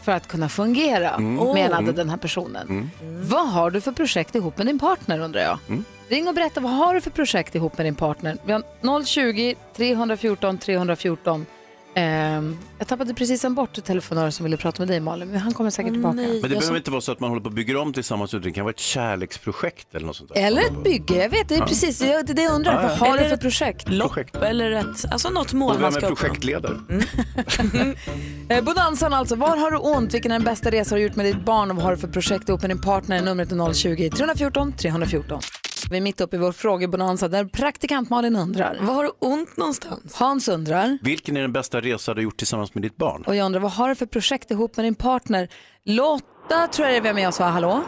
för att kunna fungera,
Mm.
menade
Mm.
den här personen. Vad har du för projekt ihop med din partner undrar jag?
Mm.
Ring och berätta, vad har du för projekt ihop med din partner? Vi har 020-314 314. Ehm, jag tappade precis en bort telefonören som ville prata med dig Malin, men han kommer säkert tillbaka.
Men det behöver inte vara så att man håller på att bygga om tillsammans, utan det kan vara ett kärleksprojekt eller något sånt där.
Eller ett bygge, jag vet, det är
Ja.
precis det är det jag undrar.
Ja, ja.
Vad har du
Eller
för
ett
projekt?
Projekt.
Eller ett, alltså något mål
Och vem
man
är
ska uppnå.
projektledare?
Mm.
Eh, Bonanzan alltså, var har du ont? Vilken är den bästa resa du har gjort med ditt barn och vad har du för projekt ihop med din partner? Numret är 020-314 314. Vi är mitt uppe i vår frågebonanza där praktikant Malin undrar.
Var har du ont någonstans?
Hans undrar.
Vilken är den bästa resa du har gjort tillsammans med ditt barn?
Och jag undrar, vad har du för projekt ihop med din partner? Lotta tror jag det är vem jag sa, hallå?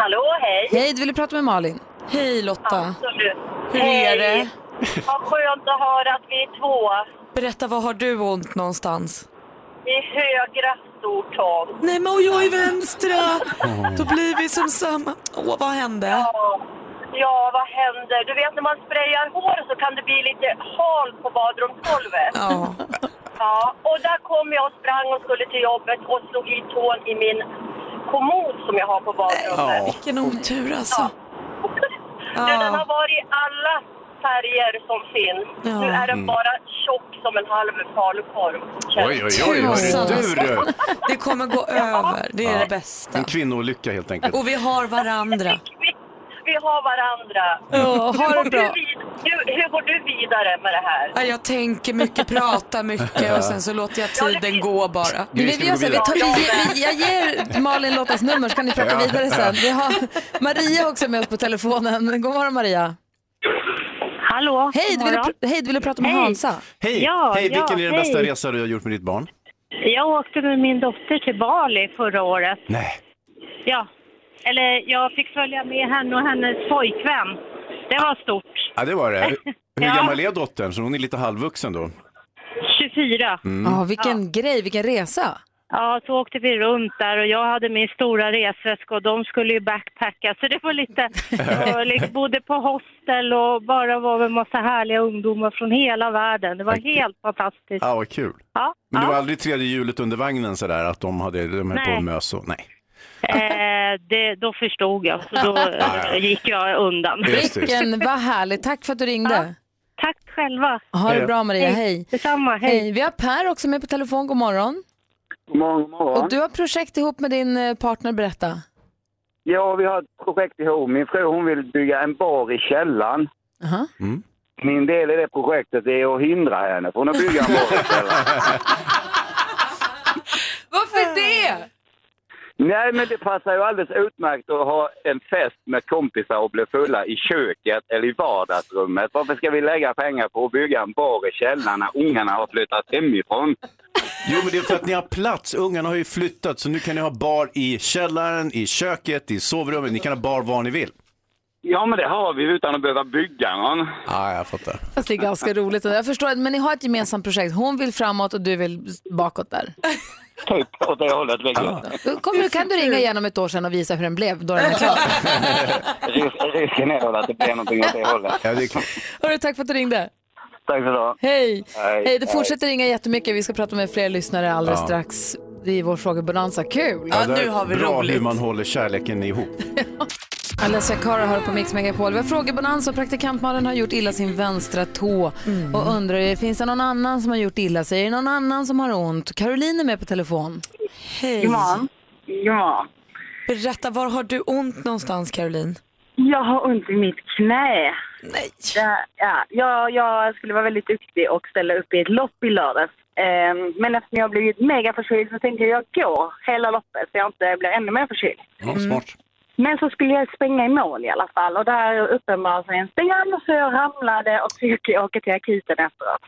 Hallå, hej!
Hej, du ville prata med Malin.
Hej Lotta.
Absolut.
Hur är det?
Vad skönt att höra att vi är två
Berätta, var har du ont någonstans?
i högra stortån.
Nej, men och jag är vänstra. Då blir vi som samma. Åh, vad hände?
Ja, vad händer? Du vet när man sprayar hår så kan det bli lite halt på badrumsgolvet.
Ja.
Ja, och där kom jag och sprang och skulle till jobbet och slog i tån i min kommod som jag har på badrummet.
Vilken otur alltså.
Du, den har varit i alla färger som finns.
Ja.
Nu är den
Mm.
bara tjock som en halv falukorv.
Oj, oj, oj, hörru du, du.
Det kommer gå över. Det är det bästa.
En kvinnoolycka helt enkelt.
Och vi har varandra.
Vi har varandra.
Ja, ha
hur, går
det bra.
Du vid, hur, hur går du vidare med det här?
Ja, Jag tänker mycket, pratar mycket och sen så låter jag tiden gå bara.
Vi, vi, gör så här, vi tar, vi, ger- vi, jag ger Malin Lottas nummer så kan ni prata
Ja.
vidare sen. Vi har Maria också med oss på telefonen. God morgon Maria.
Hallå,
Hej, du ville,
morgon.
pr- hej, du ville prata med
Hej.
Hansa.
Hej,
Ja,
hej,
ja,
vilken är den bästa
hej.
resa du har gjort med ditt barn?
Jag åkte med min dotter till Bali förra året.
Nej.
Ja. Eller jag fick följa med henne och hennes pojkvän. Det var stort.
Ja, det var det. Hur hur
Ja.
gammal är dottern? Så hon är lite halvvuxen då?
24.
Mm.
Ja, vilken grej, vilken resa.
Ja, så åkte vi runt där och jag hade min stora resväska och de skulle ju backpacka så det var lite... Jag liksom bodde på hostel och bara var med massa härliga ungdomar från hela världen. Det var helt fantastiskt.
Ja, vad kul.
Ja,
Men det var aldrig tredje hjulet under vagnen sådär att de hade de höll på
Nej.
och mös och nej.
eh, det, då förstod jag så då
Ja, ja.
eh, gick jag undan.
Just det, just
Vilken, vad härligt. Tack för att du ringde.
Tack själva.
Ha det bra Maria, hej.
Detsamma, hej.
Vi har Per också med på telefon, god morgon.
God morgon, god
Och
morgon.
du har projekt ihop med din eh, partner, berätta.
Ja, vi har ett projekt ihop. Min fru hon vill bygga en bar i källaren.
Aha.
Mm.
Min del i det projektet är att hindra henne från att bygga en bar i källaren.
Varför det?
Nej, men det passar ju alldeles utmärkt att ha en fest med kompisar och bli fulla i köket eller i vardagsrummet. Varför ska vi lägga pengar på att bygga en bar i källaren när ungarna har flyttat hemifrån?
Jo, men det är för att ni har plats. Ungarna har ju flyttat så nu kan ni ha bar i källaren, i köket, i sovrummet. Ni kan ha bar var ni vill.
Ja, men det har vi utan att behöva bygga någon.
Ja, jag fattar.
Fast det är ganska roligt. Jag förstår, men ni har ett gemensamt projekt. Hon vill framåt och du vill bakåt där.
typ åt det hållet. Ah.
Då Kommer, kan du ringa igen om ett år sedan och visa hur den blev? Då den är klar.
Risken är väl att det blir någonting åt det hållet.
Hörru, tack för att du ringde.
Tack för idag.
Hej!
Hej.
Hej, du fortsätter ringa jättemycket. Vi ska prata med fler lyssnare alldeles
Ja.
strax. Det är vår frågebonanza. Kul!
det är bra hur man håller kärleken ihop.
Alessia Cara hör på Mix Megapol. Vi har frågebonanza och praktikantmannen har gjort illa sin vänstra tå och undrar finns det någon annan som har gjort illa sig? Är det någon annan som har ont? Caroline är med på telefon.
Hej.
Ja.
Ja. Berätta, var har du ont någonstans Caroline?
Jag har ont i mitt knä.
Nej.
Ja, ja, jag, jag skulle vara väldigt duktig och ställa upp i ett lopp i lördags. Ehm, Men eftersom jag har blivit mega förkyld så tänkte jag jag går hela loppet så jag inte blir ännu mer förkyld.
Ja,
Mm.
smart.
Men så skulle jag springa i mål i alla fall och där uppenbarade sig en sten så jag ramlade och fick åka till akuten efteråt.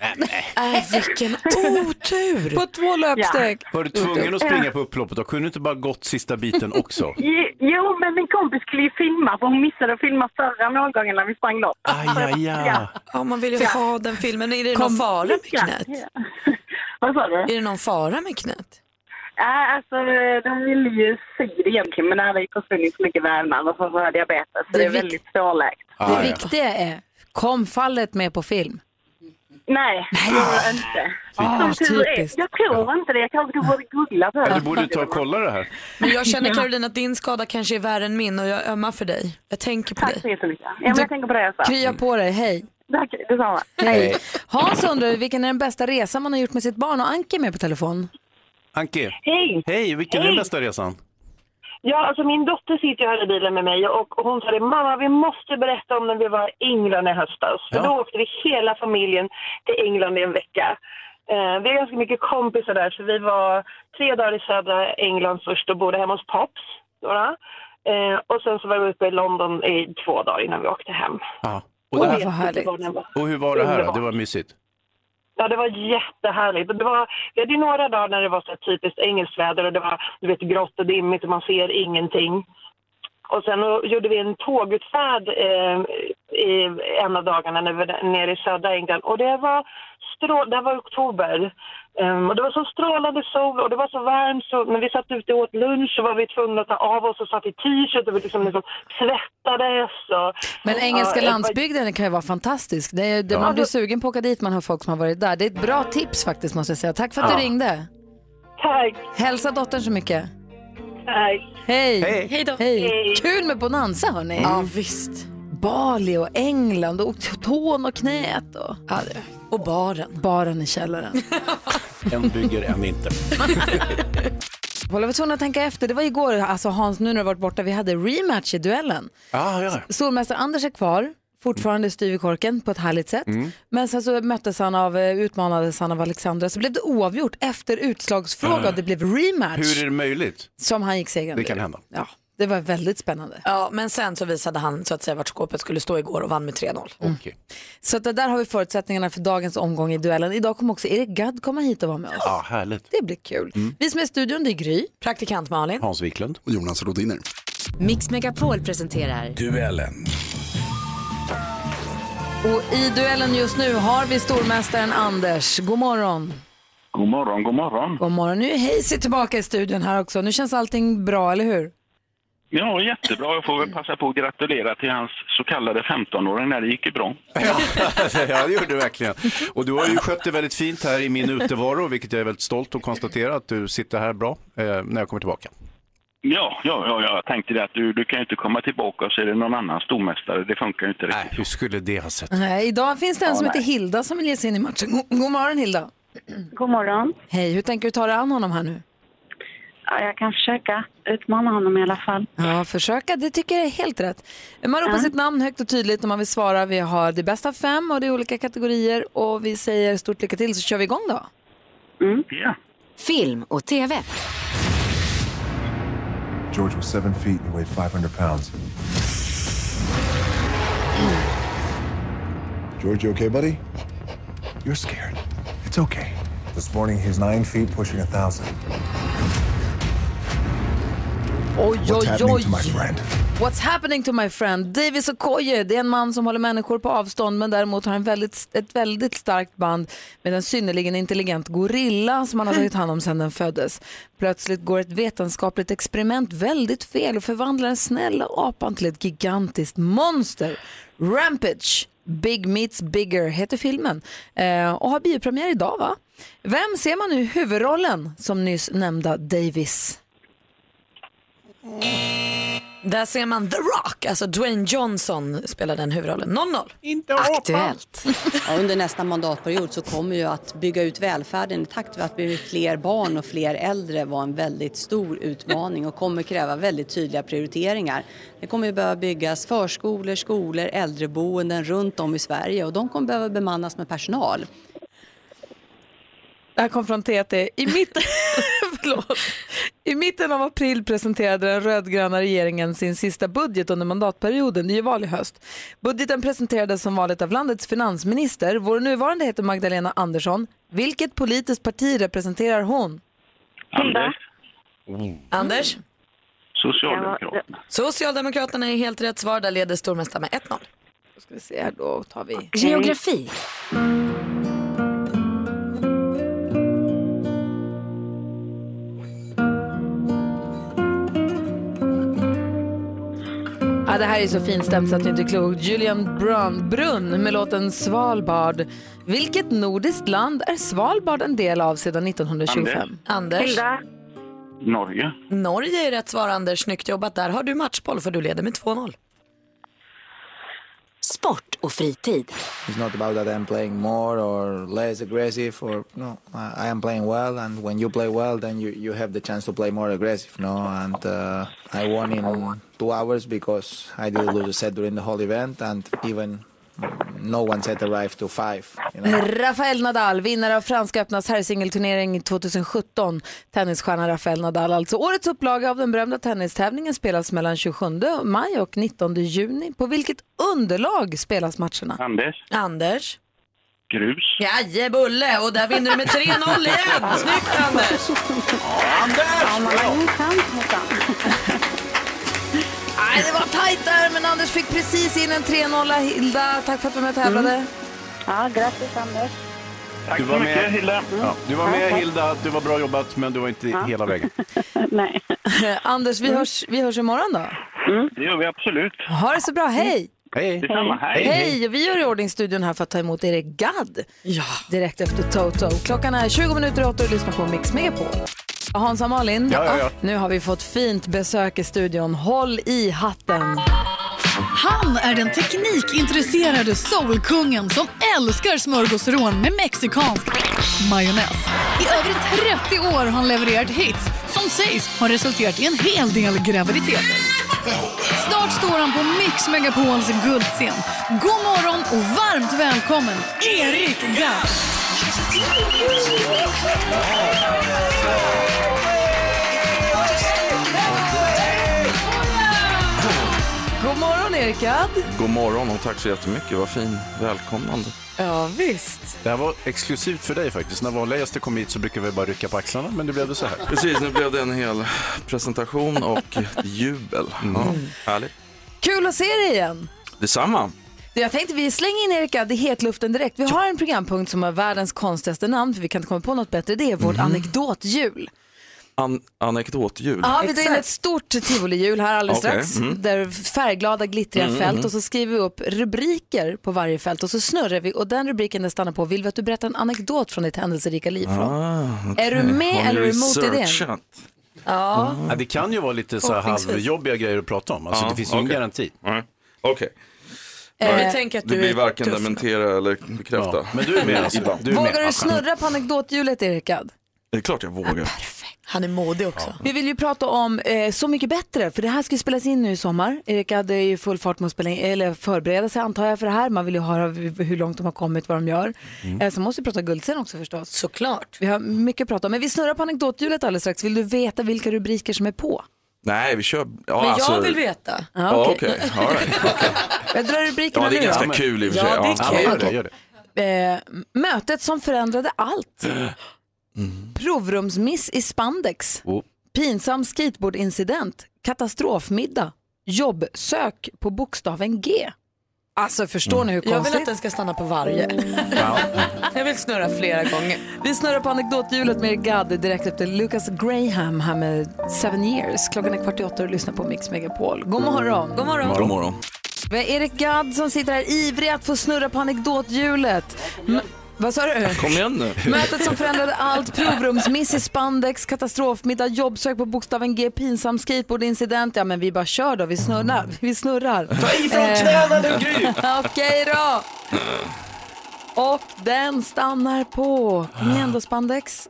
Äh, vilken otur!
På två löpsteg.
Var du tvungen att springa på upploppet? Då kunde du inte bara gått sista biten också?
Jo- Jo, men min kompis skulle ju filma för hon missade att filma förra målgången när vi sprang lopp.
Aj, aj, aj.
Ja.
Ja, man vill ju
Ja.
ha den filmen. Är det någon
Kom.
fara med
Ja,
knät?
Vad sa du?
Är det någon fara med knät?
Nej, alltså de ville ju sy det egentligen men det hade ju försvunnit så mycket vävnad och så har jag diabetes så det är väldigt svårläkt.
Det viktiga är, kom fallet med på film?
Nej, det gjorde jag inte.
Ah,
Som tur är.
typiskt.
Jag tror inte det. Jag kanske borde googla på
Ja,
det.
du borde ta och kolla det här.
Men jag känner
Ja.
Caroline att din skada kanske är värre än min och jag ömmar för dig. Jag tänker på dig. Tack
så jättemycket. Ja, men jag tänker på det också.
Krya på dig, hej.
Tack, detsamma.
Hej. Hans undrar vilken är den bästa resan man har gjort med sitt barn och Anke är med på telefon.
Anke,
Hej!
hej, vilken är
Hej.
den bästa resan?
Ja, alltså min dotter sitter ju här i bilen med mig och hon sa det, mamma vi måste berätta om när vi var i England i höstas. För då åkte vi hela familjen till England i en vecka. Eh, vi har ganska mycket kompisar där så vi var tre dagar i södra England först och bodde hemma hos Pops. Några. Eh, och sen så var vi uppe i London i två dagar innan vi åkte hem.
Ja. Och, det
Jag vet
här,
inte vad den var.
och hur var det här då? Det var mysigt.
Ja, det var jättehärligt. Och Det var, vi hade ju några dagar när det var så här typiskt engelskt väder och det var du vet, grått och dimmigt och man ser ingenting. Och sen då gjorde vi en tågutfärd eh, i en av dagarna när vi var nere i södra England. Och det var, strå, det här var oktober. Ehm, och det var så strålande sol och det var så varmt så när vi satt ute och åt lunch så var vi tvungna att ta av oss och satt i t-shirt och vi liksom, liksom svettades. Och,
Men engelska
Ja, det var-
landsbygden kan ju vara fantastisk. Det är, det,
Ja.
Man blir sugen på att åka dit, man har folk som har varit där. Det är ett bra tips faktiskt måste jag säga. Tack för att
Ja.
du ringde.
Tack.
Hälsa dottern så mycket.
Tack.
Hej!
Hej. Hej då.
Hej. Kul med Bonanza hörni.
Ja, visst.
Bali och England och tån och knät. Och,
och baren.
Baren i källaren.
En bygger, en inte.
Jag var tvungen att tänka efter. Det var igår, alltså Hans, nu när du har varit borta, vi hade rematch i duellen.
Ah, ja.
Stormästare Anders är kvar, fortfarande styv i korken på ett härligt sätt.
Mm.
Men sen så möttes han av, eh, utmanades han av Alexandra, så blev det oavgjort efter utslagsfråga och det blev rematch
Mm. Hur är det möjligt?
som han gick segrande
Det kan
ur.
hända.
Ja, det var väldigt spännande.
Ja, men sen så visade han så att säga vart skåpet skulle stå igår och vann med 3-0.
Mm. Okej.
Så att det där har vi förutsättningarna för dagens omgång i duellen. Idag kommer också Erik Gadd komma hit och vara med oss.
Ja, härligt.
Det blir kul.
Mm.
Vi som är i studion, det är Gry.
Praktikant Malin.
Hans Wiklund.
Och Jonas Rodiner.
Mix Megapol presenterar
Duellen.
Och i duellen just nu har vi stormästaren Anders. God morgon.
God morgon, god morgon.
God morgon. Nu är Hayes tillbaka i studion här också. Nu känns allting bra, eller hur?
Ja, jättebra. Jag får väl passa på att gratulera till hans så kallade 15-åring när det gick ju bra.
ja, det gjorde du verkligen. Och du har ju skött det väldigt fint här i min utevaro, vilket jag är väldigt stolt att konstatera att du sitter här bra eh, när jag kommer tillbaka.
Ja, ja, ja, ja. jag tänkte det att du, du kan ju inte komma tillbaka och så är det någon annan stormästare. Det funkar ju inte riktigt.
Nej, hur skulle det ha sett
Nej, idag finns det en
Ja,
som
nej.
heter Hilda som vill ge sig in i matchen. God, god morgon Hilda.
God morgon.
Hej, hur tänker du ta dig an honom här nu?
Ja, jag kan försöka utmana honom i alla fall.
Ja, försöka. Det tycker jag är helt rätt. Man ropar sitt namn högt och tydligt när man vill svara. Vi har det bästa av fem och det är olika kategorier. Och vi säger stort lycka till så kör vi igång då.
film och tv.
George was seven feet and weighed 500 pounds. George, you okay, buddy? You're scared. It's okay. This morning, he's nine feet, pushing a thousand.
Oj,
What's
oj,
happening
oj.
to my friend?
What's happening to my friend? Davis Okoye, det är en man som håller människor på avstånd men däremot har en väldigt, ett väldigt starkt band med en synnerligen intelligent gorilla som han har tagit hand om sedan den föddes. Plötsligt går ett vetenskapligt experiment väldigt fel och förvandlar den snälla apan till ett gigantiskt monster. Rampage, Big Meets Bigger heter filmen eh, och har biopremiär idag va? Vem ser man nu i huvudrollen som nyss nämnda Davis?
Där ser man The Rock, alltså Dwayne Johnson spelar den huvudrollen. 0-0.
Inte
Aktuellt. Ja, under nästa mandatperiod så kommer ju att bygga ut välfärden i takt med att vi blir fler barn och fler äldre vara en väldigt stor utmaning och kommer kräva väldigt tydliga prioriteringar. Det kommer ju behöva byggas förskolor, skolor, äldreboenden runt om i Sverige och de kommer behöva bemannas med personal.
Det här kom från TT. I mitten, förlåt. I mitten av april presenterade den rödgröna regeringen sin sista budget under mandatperioden. Det är ju val i höst. Budgeten presenterades som vanligt av landets finansminister. Vår nuvarande heter Magdalena Andersson. Vilket politiskt parti representerar hon?
Anders?
Oh.
Anders?
Socialdemokraterna.
Socialdemokraterna är helt rätt svar. Där leder stormästaren med 1-0. Då
ska vi se här, då tar vi...
Geografi.
Ja, det här är så finstämt så att det inte är klokt. Julian Brun, Brunn med låten Svalbard. Vilket nordiskt land är Svalbard en del av sedan 1925?
Anders?
Norge.
Norge är rätt svar, Anders. Snyggt jobbat. Där har du matchboll för du leder med 2-0. Sport och fritid.
It's not about that I'm playing more or less aggressive or no. I I am playing well, and when you play well, then you, you have the chance to play more aggressive, no. And uh, I won in two hours because I didn't lose a set during the whole event, and even mm, no one set arrived to five. You know?
Rafael Nadal, vinnare av Franska öppnas herrsingelturnering 2017. Tennisstjärnan Rafael Nadal, alltså. Årets upplaga av den berömda tennistävlingen spelas mellan 27 maj och 19 juni. På vilket underlag spelas matcherna?
Anders?
Anders?
Grus.
Jajebulle! Och där vinner du med 3-0 igen. Snyggt, Anders!
Nej, det var tajt där, men Anders fick precis in en 3-0. Hilda, tack för att du var med och tävlade.
Ja, grattis Anders.
Tack du
så mycket, Hilda.
Ja, du var med
Ja.
Hilda, det var bra jobbat men du var inte
Ja.
hela vägen.
Nej. Anders, vi hörs, vi hörs imorgon då.
Det gör vi absolut.
Ha det så bra, hej!
Hej.
Detsamma, hej.
Hej! Vi gör i ordning studion här för att ta emot Erik Gadd direkt efter Toto. Klockan är 20 minuter i åtta och du lyssnar på Mix Megapol. Hans och Malin,
Ja, ja, ja.
nu har vi fått fint besök i studion. Håll i hatten!
Han är den teknikintresserade soulkungen som älskar smörgåsrån med mexikansk majonnäs. I över 30 år har han levererat hits som sägs ha resulterat i en hel del graviditeter. Snart står han på Mix Megapols guldscen. God morgon och varmt välkommen Erik Gadd!
God morgon Erik Gadd!
God morgon och tack så jättemycket. Vad fin välkomnande.
Ja, visst.
Det här var exklusivt för dig faktiskt. När vanliga gäster kommer hit så brukar vi bara rycka på axlarna men det blev det så här.
Precis, nu blev det en hel presentation och jubel.
Mm.
Ja, härligt.
Kul att se dig igen!
Detsamma.
Du, Jag tänkte vi slänger in Erik Gadd i hetluften direkt. Vi har en programpunkt som har världens konstigaste namn för vi kan inte komma på något bättre. Det är vårt
Mm.
anekdothjul.
An- anekdothjul.
Ja, vi drar in ett stort tivolihjul här alldeles
Okej,
strax.
mm.
Där färgglada glittriga
Mm,
fält
mm.
och så skriver vi upp rubriker på varje fält och så snurrar vi och den rubriken det stannar på vill vi att du berättar en anekdot från ditt händelserika liv.
Ah,
Är du med
Har ni
eller är du emot
researchat?
Ja.
Mm.
Ja, det kan ju vara lite så här
Förhoppningsvis.
halvjobbiga grejer att prata om. Alltså,
Ja,
det finns ju ingen
okej.
garanti.
Nej. Okej.
Eh,
Det blir varken dementera eller bekräfta. Mm.
men du är med alltså.
Ibland.
Vågar du snurra på anekdothjulet Erik Gadd?
Det är klart jag vågar.
Han är modig också.
Vi vill ju prata om eh, Så mycket bättre, för det här ska ju spelas in nu i sommar. Erik hade ju full fart med att spela in, eller förbereda sig antar jag för det här. Man vill ju höra v- hur långt de har kommit, vad de gör.
Mm.
Eh, så måste vi prata guldscen också förstås.
Såklart.
Vi har mycket att prata om, men vi snurrar på anekdothjulet alldeles strax. Vill du veta vilka rubriker som är på?
Nej, vi kör. Ja,
Men
alltså...
jag vill veta.
Ja,
Ja,
okej.
okej. All right.
Jag drar rubrikerna
Ja, det är
nu då.
ganska kul i och för
Ja,
sig.
det är kul.
men
Eh, mötet som förändrade allt. Provrumsmiss i spandex.
Oh.
Pinsam skateboardincident. katastrofmiddag, jobbsök på bokstaven G. Alltså förstår ni hur
Jag
konstigt?
vill att den ska stanna på varje. Jag vill snurra flera gånger.
Vi snurrar på anekdothjulet med Gad direkt efter Lucas Graham här med Seven Years. Klockan är kvart i åtta och du lyssnar på Mix Megapol. God morgon!
God morgon.
God morgon.
Vi har Erik Gadd som sitter här ivrig att få snurra på anekdothjulet. M- Vad sa du?
Kom igen nu.
Mötet som förändrade allt, provrumsmiss i spandex, katastrofmiddag, jobbsök på bokstaven G, pinsam skateboardincident. Ja men vi bara kör då, vi snurrar. Vi snurrar. Ta
Mm. i från knäna nu, Gry!
Okej då! Och den stannar på. Kom igen då spandex.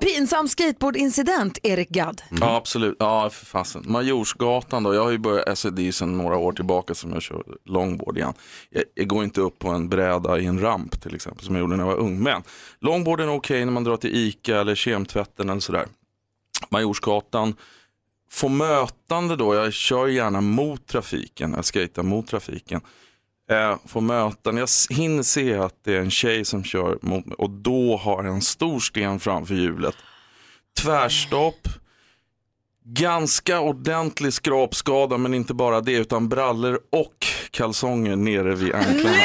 Pinsam skateboardincident, Erik Gadd.
Ja, absolut. Ja, för fasen. Majorsgatan då. Jag har ju börjat, alltså det är ju sedan några år tillbaka som jag kör longboard igen. Jag, jag går inte upp på en bräda i en ramp till exempel som jag gjorde när jag var ung. Men longboarden är okej när man drar till ICA eller kemtvätten eller sådär. Majorsgatan, få mötande då. Jag kör gärna mot trafiken, jag skejtar mot trafiken. Eh, får möten. Jag s- hinner se att det är en tjej som kör mot mig och då har jag en stor sten framför hjulet. Tvärstopp. Ganska ordentlig skrapskada men inte bara det utan brallor och kalsonger nere vid anklarna.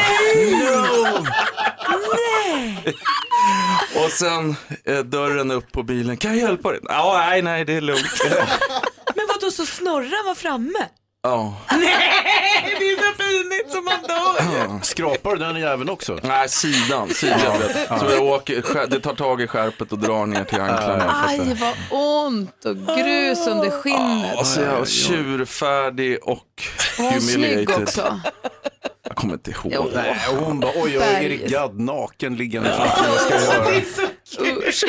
Och sen eh, dörren upp på bilen. Kan jag hjälpa dig? Ja, nej, nej, det är lugnt.
Men vadå, så snorran var framme?
Ja.
Nej, det är så pinigt som man dör.
Skrapar du den jäveln också? Nej, sidan. sidan
Ja.
vet. Så jag åker, skär- det tar tag i skärpet och drar ner till anklarna.
Aj vad ont och grus under skinnet.
Och så är jag tjurfärdig och
Och hon är
humiliated.
snygg också.
Jag kommer inte ihåg.
Jo.
Nej, och hon bara, oj, jag är Erik
Bergs.
Gadd naken liggande framför mig. Vad ska jag göra?
Usch.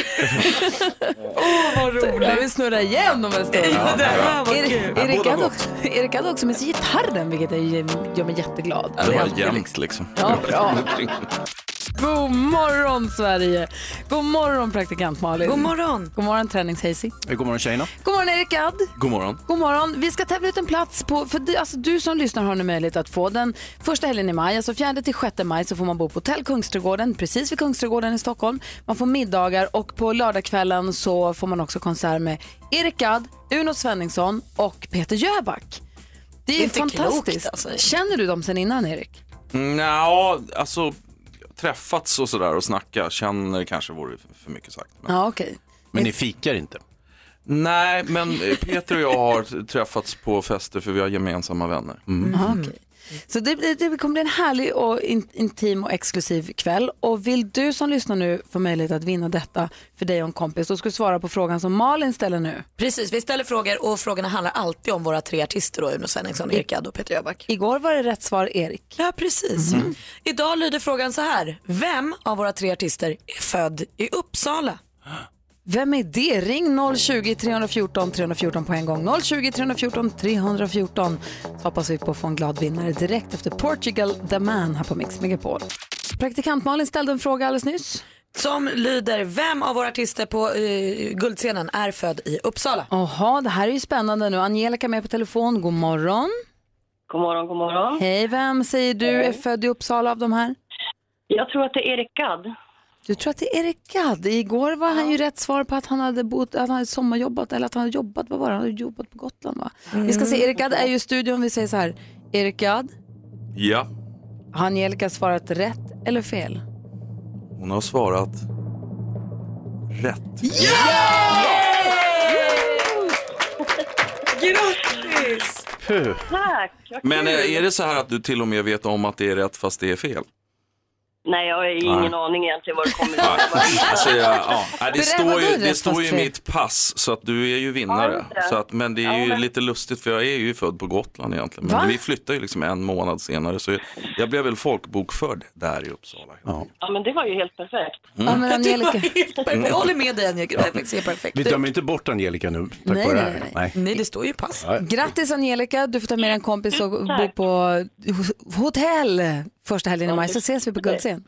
Åh, vad roligt. Ja, vi snurrar igen om en stund.
Ja, det här var
Erik-
kul.
Erik
Båda
hade
gott.
också, Erik hade också med sig gitarren, vilket är, gör mig jätteglad.
Det var
alltid
jämnt liksom.
Ja, bra. God morgon, Sverige! God morgon, praktikant Malin.
God morgon.
God morgon, träningshazy.
God morgon tjejerna.
God morgon, Erik Gadd.
God morgon.
God morgon. Vi ska tävla ut en plats. På, för du, alltså, du som lyssnar har nu möjlighet att få den första helgen i maj. Alltså 4 till 6 maj så får man bo på Hotell Kungsträdgården, precis vid Kungsträdgården i Stockholm. Man får middagar och på lördagskvällen så får man också konsert med Erik Gadd, Uno Svenningsson och Peter Jöback. Det är,
Det är
ju
inte
fantastiskt.
klokt, alltså.
Känner du dem sen innan, Erik?
Mm, Nja, alltså träffats och sådär och snacka. Känner kanske vore för- för mycket sagt.
Ja, okej.
Men ni fikar inte?
Nej, men eh, Peter och jag har träffats på fester för vi har gemensamma vänner.
Mm.
Mm.
Ja, okej. Så det, blir- det kommer bli en härlig och in, intim och exklusiv kväll. Och vill du som lyssnar nu få möjlighet att vinna detta för dig och en kompis, då ska du svara på frågan som Malin ställer nu.
Precis, vi ställer frågor och frågorna handlar alltid om våra tre artister då, Uno Svenningsson, Erik Gadd och Peter Jöback.
Igår var det rätt svar Erik.
Ja, precis. Idag lyder frågan så här. Vem av våra tre artister är född i Uppsala?
Vem är det? Ring 020 314 314 på en gång. 020 314 314. Så hoppas vi på att få en glad vinnare direkt efter Portugal The Man här på Mix Megapol. Praktikant Malin ställde en fråga alldeles nyss.
Som lyder, vem av våra artister på eh, guldscenen är född i Uppsala?
Jaha, det här är ju spännande nu. Angelica är med på telefon. God morgon.
God morgon, god morgon.
Hej, vem säger du är född i Uppsala av de här?
Jag tror att det är Erik Gadd.
Du tror att det är Erik Gadd. Igår var han ju rätt svar på att han hade bott, att han hade sommarjobbat, eller att han hade jobbat, vad var det? Han hade jobbat på Gotland va? Vi ska se, Erik Gadd är ju i studion. Vi säger så här, Erik Gadd,
Ja,
har Angelica svarat rätt eller fel?
hon har svarat rätt.
Grattis!
Puh.
Tack! vad
Men
kul.
eh, är det så här att du till och med vet om att det är rätt fast det är fel?
Nej, jag har ju ingen
Nej.
aning egentligen var det kommer
Ja, alltså, jag, ja. Nej, det
Berätta,
står ju,
vad är
det
rätt
står
fast
ju i
det är?
mitt pass så att du är ju
Ja,
vinnare.
just det.
Så att, men det är
Ja,
ju
men-
lite lustigt för jag är ju född på Gotland egentligen. Men
Va?
vi flyttade ju liksom en månad senare så jag, jag blev väl folkbokförd där i Uppsala.
Ja, men det var ju helt perfekt.
Mm. Ja, men
Angelica-
perfekt. Jag håller med dig Angelica, det ser perfekt
Vi
ut.
dömer inte bort Angelica nu tack
Nej,
vare det
nej,
här.
nej.
Nej, det står ju pass.
Ja.
Grattis Angelica, du får ta med dig en kompis och bo på hotell första helgen i maj, så ses vi på Guldscen.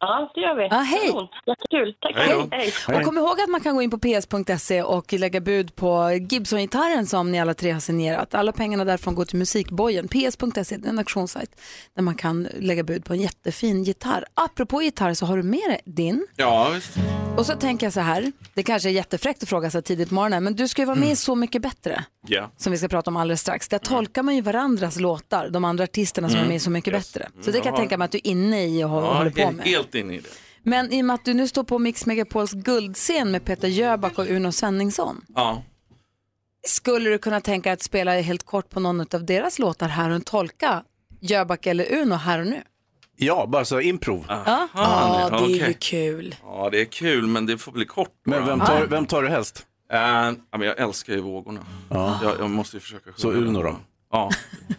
Ja, det gör vi.
Ja, hej.
Kanon. Jättekul. Tack.
Hej då. Och kom ihåg att man kan gå in på ps.se och lägga bud på Gibson-gitarren som ni alla tre har signerat. Alla pengarna därifrån går till musikbojen. ps.se det är en auktionssajt där man kan lägga bud på en jättefin gitarr. Apropå gitarr så har du med dig din.
Ja, visst.
Och så tänker jag så här, det kanske är jättefräckt att fråga så här tidigt på morgonen, men du ska ju vara med
Mm.
i Så mycket bättre
Ja.
som vi ska prata om alldeles strax. Där tolkar man ju varandras låtar, de andra artisterna som
Mm.
är med i Så mycket
Yes.
bättre. Så det kan jag
Ja.
tänka mig att du är inne i och hå- håller på
helt,
med.
helt inne i det.
Men i och med att du nu står på Mix Megapols guldscen med Peter Jöback och Uno Svenningsson,
Ja.
skulle du kunna tänka att spela helt kort på någon av deras låtar här och tolka Jöback eller Uno här och nu?
Ja, bara så improv.
Ja.
Ah,
Ja, det är ju
okej.
kul.
Ja, det är kul, men det får bli kort. Men
vem tar- vem tar du helst?
men jag älskar ju vågorna. Jag, jag måste ju försöka sjunga.
Så Uno då?
Ja. Ska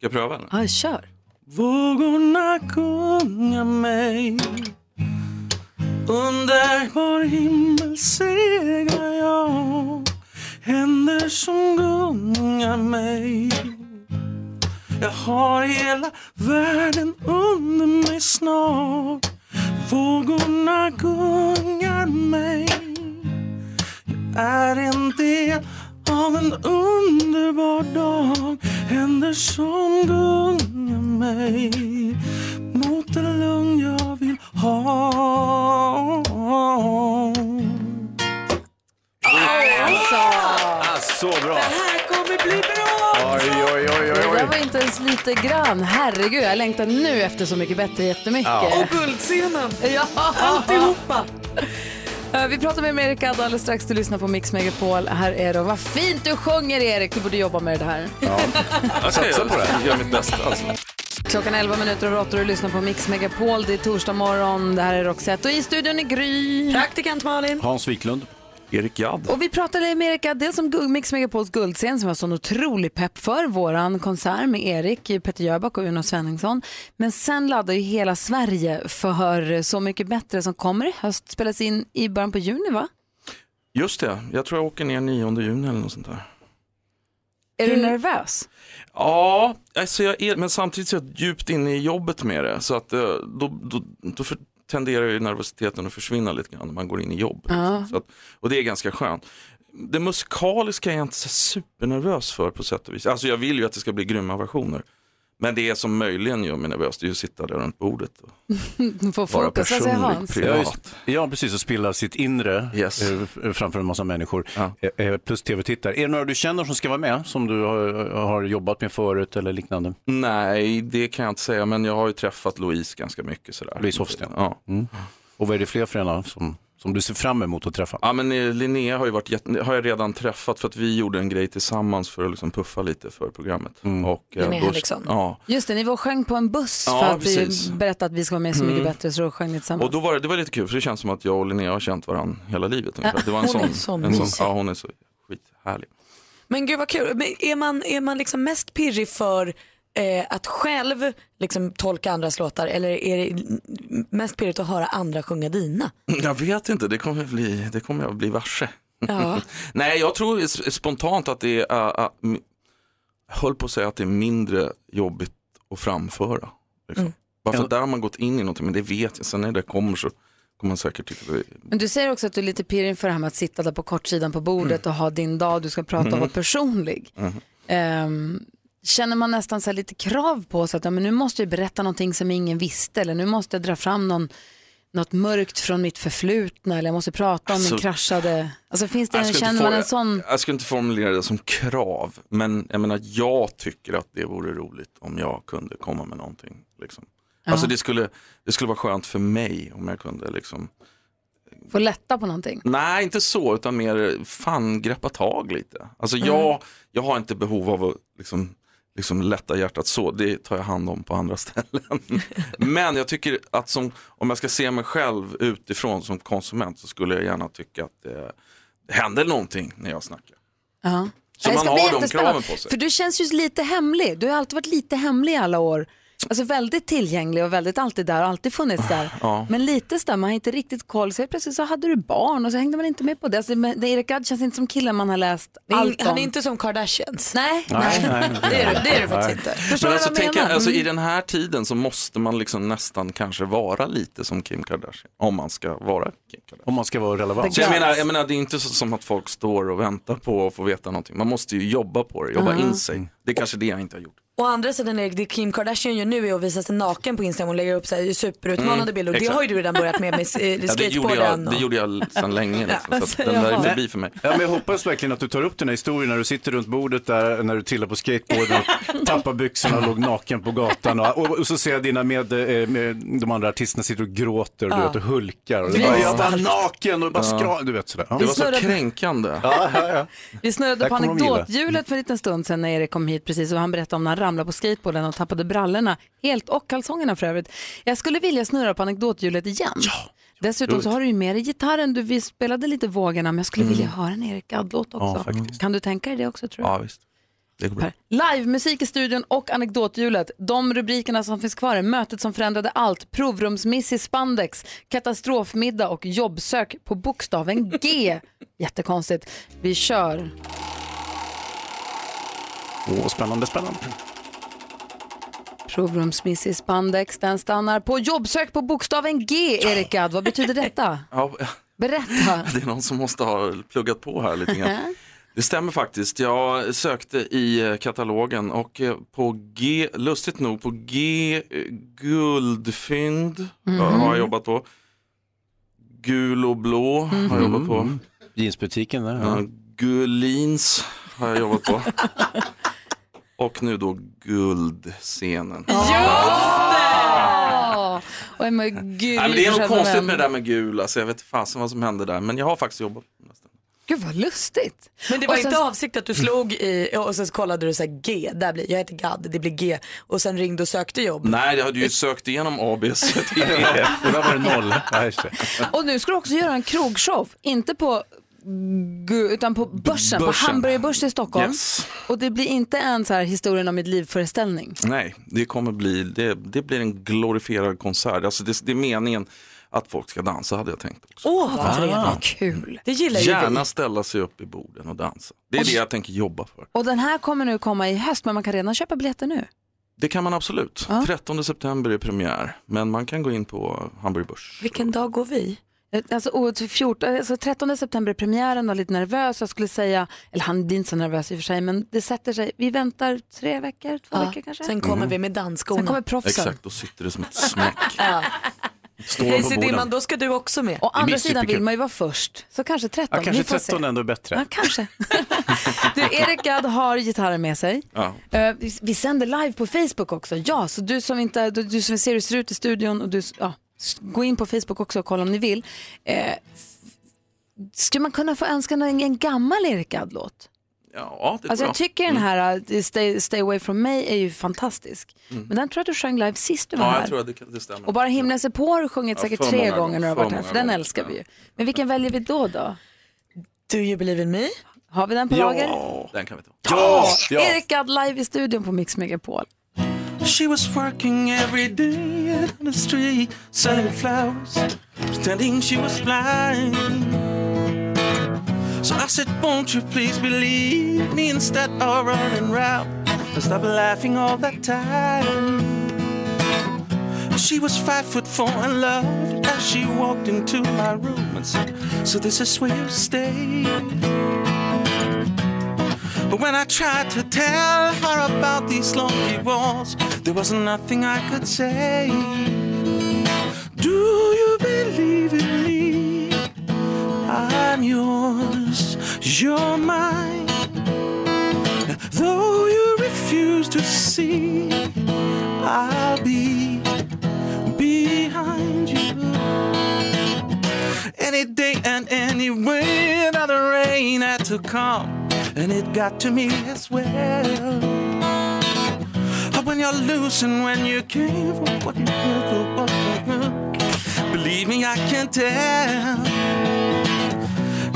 jag pröva eller?
Ja, kör.
Vågorna kungar mig Under vår himmel seglar jag Händer som gungar mig Jag har hela världen under mig snart Vågorna gungar mig Jag är en del av en underbar dag Händer som gungar mig Mot en lugn jag vill ha
Ah, så bra!
här kommer bli
Oj, oj, oj,
Det
oj,
där var
oj.
inte ens lite grann. Herregud, jag längtar nu efter Så mycket bättre jättemycket.
Ja.
Och guldscenen.
Ja.
Alltihopa.
Eh, Vi pratar med Erik Addo alldeles strax. Du lyssnar på Mix Megapol. Här är det. Vad fint du sjunger, Erik. Du borde jobba med det här.
Jag satsar på det. Jag gör mitt bästa alltså.
Klockan är 11 minuter över 8 och du lyssnar på Mix Megapol. Det är torsdag morgon. Det här är Roxette och i studion är Gry.
Praktikant Malin.
Hans Wiklund.
Erik Gadd.
Och vi pratade med Erik Adde som Gu- Mix Megapols guldscen som jag har sån otrolig pepp för. Våran konsert med Erik, Peter Jöback och Uno Svenningsson. Men sen laddar ju hela Sverige för Så mycket bättre som kommer i höst. Spelas in i början på juni va?
Just det, jag tror jag åker ner 9 juni eller något sånt där.
Är du nervös?
Ja, alltså jag är, men samtidigt så är jag djupt inne i jobbet med det. Så att eh, då, då, då för, tenderar ju nervositeten att försvinna lite grann när man går in i jobb.
Ja.
Så att, och det är ganska skönt. Det musikaliska är jag inte så supernervös för på sätt och vis. Alltså jag vill ju att det ska bli grymma versioner. Men det som möjligen gör mig nervös det är ju att sitta där runt bordet. Och...
Får
Bara
fokus, vad säger Hans?
privat.
Ja, just- Ja, precis. Och spilla sitt inre eh, f- framför en massa människor. Eh, eh, Plus tv-tittare. Är det några du känner som ska vara med, som du har, har jobbat med förut eller liknande?
Nej, det kan jag inte säga, men jag har ju träffat Louise ganska mycket. Sådär.
Louise Hofsten?
Ja.
Mm. Och vad är det fler föräldrar som, som du ser fram emot att träffa?
Ja, men eh, Linnea har, ju varit, jätte- har jag redan träffat för att vi gjorde en grej tillsammans för att liksom puffa lite för programmet. Och, eh,
Linnea
då-
Henriksson.
Ja.
Just det, ni var och sjöng på en buss
Ja,
för att
precis.
vi berättade att vi ska vara med Så mycket
Mm.
bättre så då sjöng ni tillsammans.
Och då var det, det var lite kul för det känns som att jag och Linnea har känt varandra hela livet. ungefär.
Ja,
Det var en
hon
sån,
är så
en sån,
mysig.
ja, hon är så skithärlig.
Men gud vad kul. Men är man, är man liksom mest pirrig för eh, att själv liksom tolka andras låtar eller är det mm, mest pirrigt att höra andra sjunga dina?
Jag vet inte, det kommer, bli, det kommer jag bli varse.
Ja.
Nej, jag tror s- spontant att det är, äh, äh, m- jag höll på att säga att det är mindre jobbigt att framföra. Liksom.
Mm.
Bara för att där har man gått in i någonting, men det vet jag. Sen när det kommer så kommer man säkert tycka det är
Men du säger också att du är lite pirrig inför det här med att sitta där på kortsidan på bordet och ha din dag, du ska prata och vara
Mm.
personlig.
Mhm.
Ehm, känner man nästan så här lite krav på sig att ja, men nu måste jag berätta någonting som ingen visste eller nu måste jag dra fram någon, något mörkt från mitt förflutna eller jag måste prata om min
Alltså-
kraschade... Alltså finns det,
Jag skulle inte
känner man
få-
en sån...
Jag skulle inte formulera det som krav, men jag menar jag tycker att det vore roligt om jag kunde komma med någonting. Liksom.
Ja.
Alltså det skulle, det skulle vara skönt för mig om jag kunde liksom,
Få lätta på någonting?
nej inte så, utan mer fan greppa tag lite. Alltså jag, jag har inte behov av att liksom, liksom lätta hjärtat så, det tar jag hand om på andra ställen. men jag tycker att som, om jag ska se mig själv utifrån som konsument så skulle jag gärna tycka att det, det händer någonting när jag snackar.
Ja.
Så
Det
man
ska bli
har de
jättespännande.
kraven på sig.
För du känns ju lite hemlig. Du har alltid varit lite hemlig i alla år. Alltså väldigt tillgänglig och väldigt alltid där och alltid funnits där.
Ja.
Men lite sådär, man har inte riktigt koll. Så helt plötsligt så hade du barn och så hängde man inte med på det. Alltså, men Erik Gadd känns inte som killen man har läst
Det är-
allt om.
Han är inte som Kardashians. Nej, Det är du- det är du faktiskt inte. Förstår
Men
du
alltså,
vad jag
tänk,
menar?
alltså, I
Mm.
den här tiden så måste man liksom nästan kanske vara lite som Kim Kardashian. Om man ska vara Kim Kardashian.
Om man ska vara relevant.
Så jag, menar, jag menar, det är inte så, som att folk står och väntar på att få veta någonting. Man måste ju jobba på det, jobba
Ja.
in sig. Det är kanske det jag inte har gjort.
Å andra sidan Erik, Mm. det Kim Kardashian gör nu är att visa sig naken på Instagram och lägger upp så här superutmanande
Mm,
bilder. Och det
exakt.
har ju du redan börjat med med s- eh,
Ja, det, gjorde jag,
skateboarden.
det gjorde jag sedan länge. Liksom,
Ja,
så
alltså,
att den där är
jaha.
förbi för mig.
Ja, men jag hoppas verkligen att du tar upp den här historien när du sitter runt bordet där, när du trillar på skateboarden, och tappar byxorna och låg naken på gatan. Och, och, och så ser jag dina med, eh, med de andra artisterna sitter och gråter och,
Ja.
du vet, och hulkar. Och det
Vi-
bara, jag var
Starkt.
naken och bara
Ja.
skra... Du vet sådär.
Det var så kränkande.
Ja, ja, ja.
Vi snurrade
Där
på
kommer de gilla.
anekdothjulet för en liten stund sedan när Erik kom hit precis och han berättade om när han ramlade på skateboarden och tappade brallorna helt och kalsongerna för övrigt. Jag skulle vilja snurra på anekdothjulet igen. Dessutom så
roligt.
har du ju med dig gitarren, du, vi spelade lite vågorna men jag skulle vilja höra en Erik Gadd-låt
Ja,
också.
faktiskt.
kan du tänka dig det också tror du?
Ja, visst. Det går bra.
Live, musik i studion och anekdothjulet. De rubrikerna som finns kvar är mötet som förändrade allt, provrumsmiss i spandex, katastrofmiddag och jobbsök på bokstaven G. Jättekonstigt. Vi kör.
Åh, spännande, spännande.
Provrumsmiss i spandex, den stannar på jobbsök på bokstaven G, Erik Gadd. Vad betyder detta?
Ja,
Berätta.
det är någon som måste ha pluggat på här lite grann. Det stämmer faktiskt. Jag sökte i eh, katalogen och eh, på G, lustigt nog, på G eh, guldfynd
Mhm.
eh, har jag jobbat på. Gul och blå har jag jobbat på.
Mhm. Jeansbutiken där.
Ja, Gullins har jag jobbat på. Och nu då guldscenen.
Ja! Och Emma är gul.
Nej, men det är
försedd
något
med
konstigt
vem?
med det där med gul, alltså, jag vet inte fasen vad som hände där. Men jag har faktiskt jobbat.
Gud vad lustigt.
Men det var
Och sen-
inte avsikt att du slog i och sen så kollade du så här G, där blir, jag heter Gad, det blir G och sen ringde och sökte jobb.
Nej, jag hade ju sökt igenom ABS tidigare.
Och där var det noll.
Och nu ska du också göra en krogshow, inte på gu- utan på börsen, på
Börsen.
Hamburgerbörsen i Stockholm.
Yes.
Och det blir inte en så här historien om mitt liv-föreställning.
Nej, det kommer bli, det, det blir en glorifierad konsert. Alltså det, det är meningen att folk ska dansa hade jag tänkt.
Åh
Ah.
vad trevligt.
Kul.
Det gillar ju vi.
Gärna ställa sig upp i borden och dansa. Det är det jag tänker jobba för.
Och den här kommer nu komma i höst, men man kan redan köpa biljetter nu.
Det kan man absolut. 13 september är premiär, men man kan gå in på Hamburg Börs.
Vilken dag går vi?
Alltså, oh, till 14, alltså 13 september är premiären, jag är lite nervös. Jag skulle säga, eller han blir inte så nervös i och för sig, men det sätter sig. Vi väntar tre veckor, två veckor kanske.
Sen kommer vi med dansskorna.
Sen kommer proffsen.
Mm. Exakt, då sitter det som ett smäck.
Ja.
Står de på
Hazy Dimman,
borden.
då ska du också med.
Å andra
blir
sidan
superkul.
vill man ju vara först, så kanske 13.
Ja, kanske
Vi får se.
13 ändå är bättre.
Ja, kanske. Du, Erik Gadd har gitarren med sig.
Ja.
Eh, vi- vi sänder live på Facebook också. Ja, så du som, inte, du, du som ser hur det ser ut i studion, och du, s- ja, s- gå in på Facebook också och kolla om ni vill. Eh, f- skulle man kunna få önska en, en gammal Erik Gadd-låt?
Ja, det
Alltså
tror
jag tycker den här eh, Stay, Stay Away From Me är ju fantastisk.
Mm.
Men den tror jag att du sjöng live sist du var
Ja,
här.
jag tror att det, kan- det stämmer.
Och Bara himlen sig på har du sjungit
Ja,
säkert
för
tre
många
gånger när du har
gånger,
varit
för
här, för
många
den
gånger,
älskar vi ju. Men vilken väljer vi då då?
Do you believe in me?
Har vi den på lager?
Den kan vi ta.
Ja! Erik Gadd live i studion på Mix Megapol.
She was working every day out on the street, selling flowers, pretending she was blind. So I said, Won't you please believe me instead of running round and stop laughing all that time? She was five foot four and loved as she walked into my room and said, So this is where you stay. But when I tried to tell her about these lonely walls, there was nothing I could say. Do you believe in me? I'm yours, you're mine. Though you refuse to see, I'll be behind you. Any day and any way that the rain had to come, and it got to me as well. But when you're losing, when you give up what you give up, what you give up, believe me, I can tell.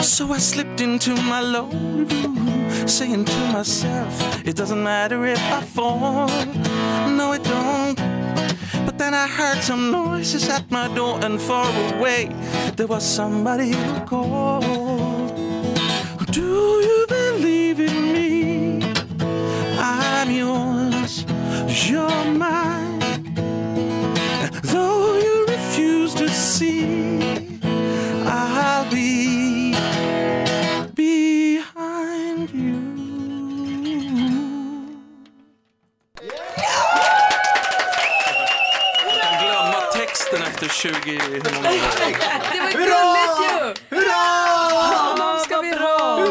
So I slipped into my lonely room, saying to myself, it doesn't matter if I fall. No, it don't. But then I heard some noises at my door, and far away there was somebody who called. Do you believe in me? I'm yours, you're mine. Though you refuse to see, I'll be behind you.
kan glömma texten efter 20... Hur många
Hurra!
Det var ju gulligt ju!
Hurra!
Honom ska vi ha!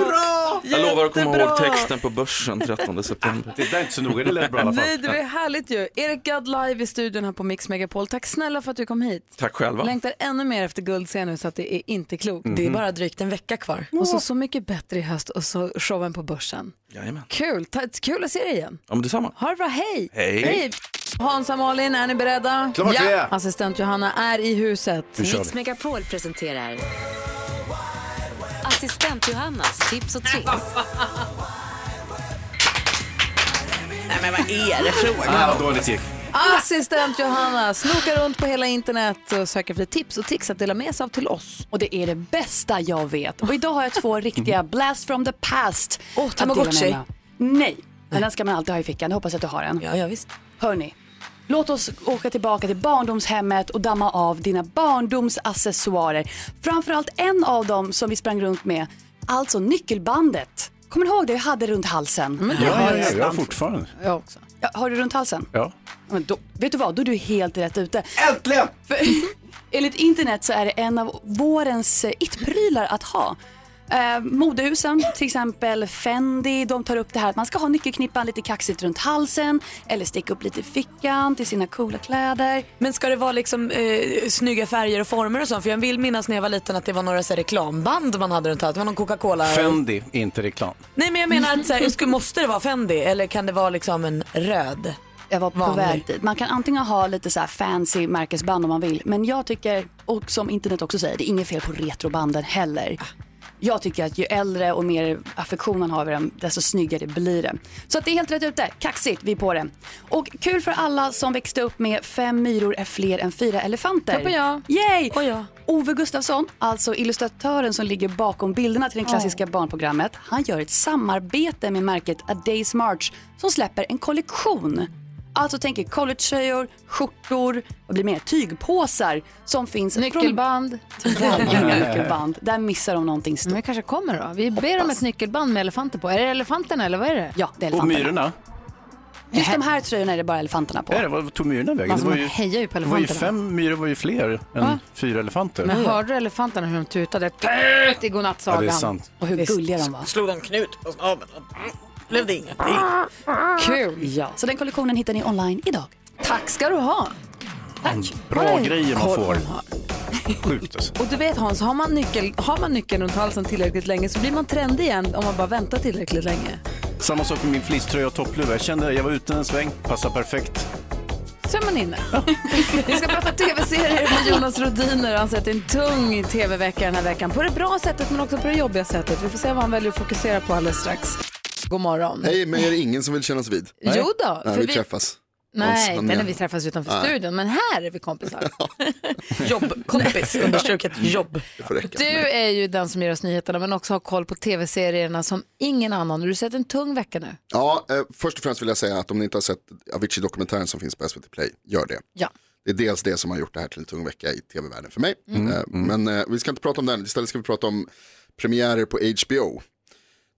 Jag lovar att komma ihåg texten på börsen 13 september.
Det där är inte så noga, det lät bra i alla fall.
Nej, det var ju härligt ju. Erik Gadd live i studion här på Mix Megapol. Tack snälla för att du kom hit.
Tack själva. Mhm.
Längtar ännu mer efter guldscen nu så att det är inte klokt.
Det är bara drygt en vecka kvar.
Och så Så mycket bättre i höst och så showen på börsen.
Jajamän.
Kul, Ta, kul att se dig igen.
Ja, men detsamma.
Ha det bra, hej!
Hej.
Hans och Malin, är ni beredda?
Klart vi är.
Assistent Johanna är i huset.
Nu kör vi. Mix Megapol presenterar Assistent Johannas tips och tricks.
Nej, men vad är det frågan
Ah, dåligt gick.
Assistent Johanna snokar runt på hela internet och söker efter tips och tricks att dela med sig av till oss.
Och det är det bästa jag vet. Och idag har jag två
Mhm.
riktiga blast from the past. Åh, oh,
Tamagotchi.
Nej, men den ska man alltid ha i fickan. Jag hoppas att du har en. Ja, ja visst. Hörni, låt oss åka tillbaka till barndomshemmet och damma av dina barndomsaccessoarer. Framförallt en av dem som vi sprang runt med, alltså nyckelbandet. Kommer ni ihåg det vi hade runt halsen? Men
Mm. Ja, ja, ja, jag har fortfarande.
Jag också.
Ja, har du runt halsen?
Ja.
Ja, Men då, vet du vad, då är du helt rätt ute. Äntligen! För, enligt internet så är det en av vårens eh, it-prylar att ha. Eh, modehusen, till exempel Fendi, de tar upp det här att man ska ha nyckelknippan lite kaxigt runt halsen eller sticka upp lite i fickan till sina coola kläder.
Men ska det vara liksom eh, snygga färger och former och sånt? För jag vill minnas när jag var liten att det var några så här, reklamband man hade runt allt. Det var någon Coca-Cola.
Fendi, inte reklam.
Nej men jag menar att så här, skulle, måste det vara Fendi eller kan det vara liksom en röd?
Jag var på väg dit. Man kan antingen ha lite så här fancy märkesband om man vill, men jag tycker, och som internet också säger, det är inget fel på retrobanden heller. Jag tycker att ju äldre och mer affektion man har över dem, desto snyggare blir det. Så att det är helt rätt ute. Kaxigt, vi är på det. Och kul för alla som växte upp med Fem myror är fler än fyra elefanter.
Tappar jag.
Yay! Ove Gustafsson, alltså illustratören som ligger bakom bilderna till det klassiska barnprogrammet, han gör ett samarbete med märket A Day's March som släpper en kollektion. Alltså tänker collegetröjor, skjortor, vad blir det mer? Tygpåsar som finns
Nyckelband.
från... Tyvärr inga nyckelband. Där missar de någonting stort.
Men kanske kommer då. Vi ber om ett nyckelband med elefanter på. Är det elefanterna eller vad är det?
Ja, det är
Och
elefanterna.
myrorna?
Just de här tröjorna är det bara elefanterna på.
Är det, vad tog myrorna vägen?
Alltså,
det var
man hejar ju på
det var ju
elefanterna.
fem myror var ju fler än
Va?
fyra elefanter.
Men hörde du elefanterna hur de tutade? Tut i godnattsagan.
Ja, det är sant.
Och hur gulliga de var.
Slog de knut på snabeln? Blev det ingenting?
Kul!
Ja, så den kollektionen hittar ni online idag.
Tack ska du ha.
Mm. Bra
Hej.
grejer man
Kolla.
får. Sjukt alltså.
Och du vet Hans, har man, nyckel, har man nyckeln runt halsen tillräckligt länge så blir man trendig igen om man bara väntar tillräckligt länge.
Samma sak med min fleecetröja och toppluva. Jag kände att jag var ute en sväng, passar perfekt.
Så är man inne. Vi ska prata tv-serier med Jonas Rodiner. Han sätter en tung tv-vecka den här veckan. På det bra sättet men också på det jobbiga sättet. Vi får se vad han väljer att fokusera på alldeles strax. God morgon.
Hej, men är det ingen som vill kännas vid?
Jo då,
Nej,
för
vi
vi-
träffas.
Nej,
Hans,
inte när
han-
vi träffas utanför
Nej.
studion, men här är vi kompisar.
Jobbkompis, understruket jobb.
Det får räcka.
Du är ju den som ger oss nyheterna men också har koll på tv-serierna som ingen annan. Du har sett en tung vecka nu.
Ja, eh, först och främst vill jag säga att om ni inte har sett Avicii-dokumentären som finns på SVT Play, gör det.
Ja.
Det är dels det som har gjort det här till en tung vecka i tv-världen för mig.
Mm.
Eh, Men eh, vi ska inte prata om den, istället ska vi prata om premiärer på HBO.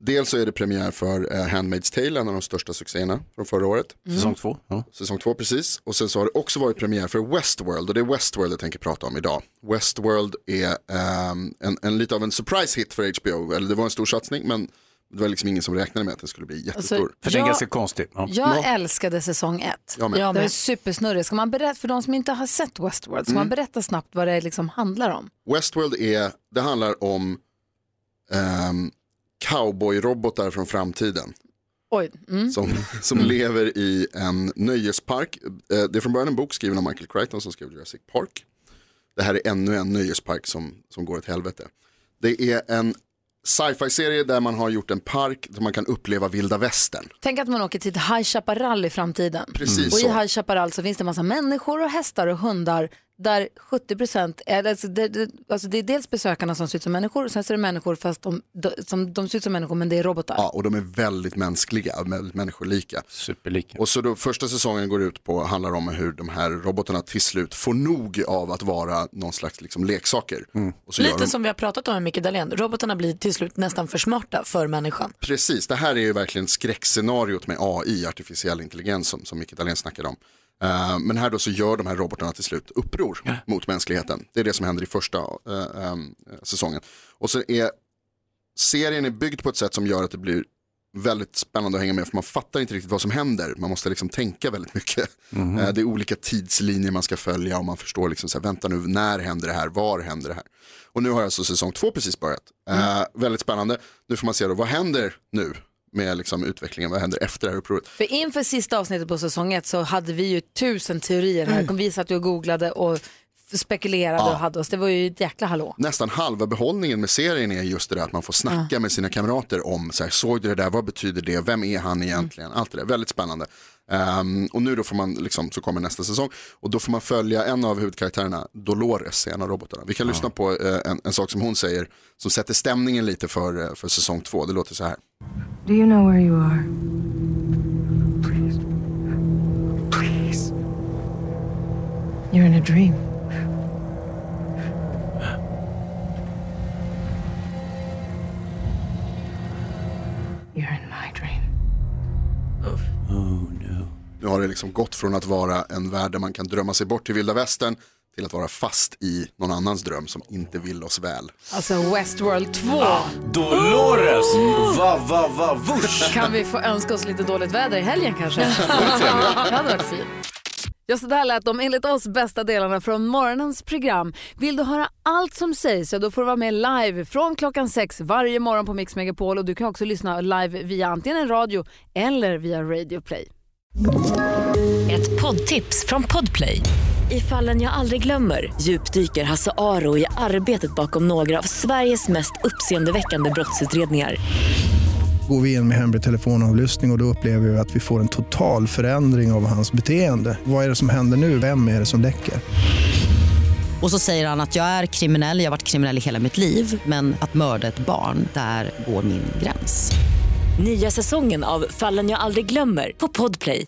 Dels så är det premiär för eh, Handmaid's Tale, en av de största succéerna från förra året.
Mm. Säsong två,
Säsong två, precis. Och sen så har det också varit premiär för Westworld och det är Westworld jag tänker prata om idag. Westworld är ehm, en, en lite av en surprise hit för HBO, eller det var en stor satsning men det var liksom ingen som räknade med att den skulle bli jättestor.
Alltså, För den är jag- ganska
konstig.
Jag älskade säsong ett.
Jag med. Jag
Det var
med.
supersnurrigt. Ska man berätta för de som inte har sett Westworld, ska
Mm.
man berätta snabbt vad det liksom handlar om?
Westworld är, det handlar om ehm, cowboyrobotar från framtiden
Oj. Mm.
som, som lever i en nöjespark. Eh, Det är från början en bok skriven av Michael Crichton som skrev Jurassic Park. Det här är ännu en nöjespark som, som går åt helvete. Det är en sci-fi-serie där man har gjort en park där man kan uppleva vilda västern.
Tänk att man åker till ett High Chaparral i framtiden.
Precis
och i
så.
High Chaparral så finns det en massa människor och hästar och hundar där 70 procent, alltså det, det, alltså det är dels besökarna som ser ut som människor, sen så är det människor fast de, de, som, de ser ut som människor men det är robotar.
Ja, och de är väldigt mänskliga, väldigt människolika.
Superlika.
Och så då, första säsongen går ut på, handlar om hur de här robotarna till slut får nog av att vara någon slags liksom, leksaker. Och så gör
Lite
de...
som vi har pratat om med Micke Dahlén, robotarna blir till slut nästan för smarta för människan.
Precis, det här är ju verkligen skräckscenariot med AI, artificiell intelligens som, som Micke Dahlén snackade om. Eh, men här då så gör de här robotarna till slut uppror mot mänskligheten. Det är det som händer i första eh, eh, säsongen. Och så är serien är byggd på ett sätt som gör att det blir väldigt spännande att hänga med för man fattar inte riktigt vad som händer. Man måste liksom tänka väldigt mycket.
Mhm.
Eh, Det är olika tidslinjer man ska följa och man förstår liksom så här, vänta nu, när händer det här, var händer det här? Och nu har alltså säsong två precis börjat. Eh, väldigt spännande. Nu får man se då, vad händer nu med liksom utvecklingen, vad händer efter det här upproret?
För inför sista avsnittet på säsong ett så hade vi ju tusen teorier här. Vi satt ju och googlade och spekulerade
Ja.
och hade oss. Det var ju ett jäkla hallå.
Nästan halva behållningen med serien är just det där att man får snacka med sina kamrater om, så här, såg du det där, vad betyder det, vem är han egentligen, allt det där, väldigt spännande. Ehm, och nu då får man, liksom, så kommer nästa säsong, och då får man följa en av huvudkaraktärerna, Dolores, en av robotarna. Vi kan lyssna på eh, en, en sak som hon säger, som sätter stämningen lite för, eh, för säsong två, det låter så här.
Do you know where you are? Please. Please. You're in a dream. You're in my dream.
Nu har det liksom gått från att vara en värld där man kan drömma sig bort till vilda västern, till att vara fast i någon annans dröm som inte vill oss väl.
Alltså Westworld 2.
Dolores! Va, va, va, vush!
Mm. Kan vi få önska oss lite dåligt väder i helgen kanske?
trevligt.
det hade varit fint. Ja, så där lät de enligt oss bästa delarna från morgonens program. Vill du höra allt som sägs så då får du vara med live från klockan sex varje morgon på Mix Megapol och du kan också lyssna live via antingen en radio eller via Radio Play.
Ett poddtips från Podplay. I fallen jag aldrig glömmer djupdyker Hasse Aro i arbetet bakom några av Sveriges mest uppseendeväckande brottsutredningar.
Går vi in med hemlig telefonavlyssning och, och då upplever vi att vi får en total förändring av hans beteende. Vad är det som händer nu? Vem är det som läcker?
Och så säger han att jag är kriminell, jag har varit kriminell i hela mitt liv men att mörda ett barn, där går min gräns.
Nya säsongen av Fallen jag aldrig glömmer på Podplay.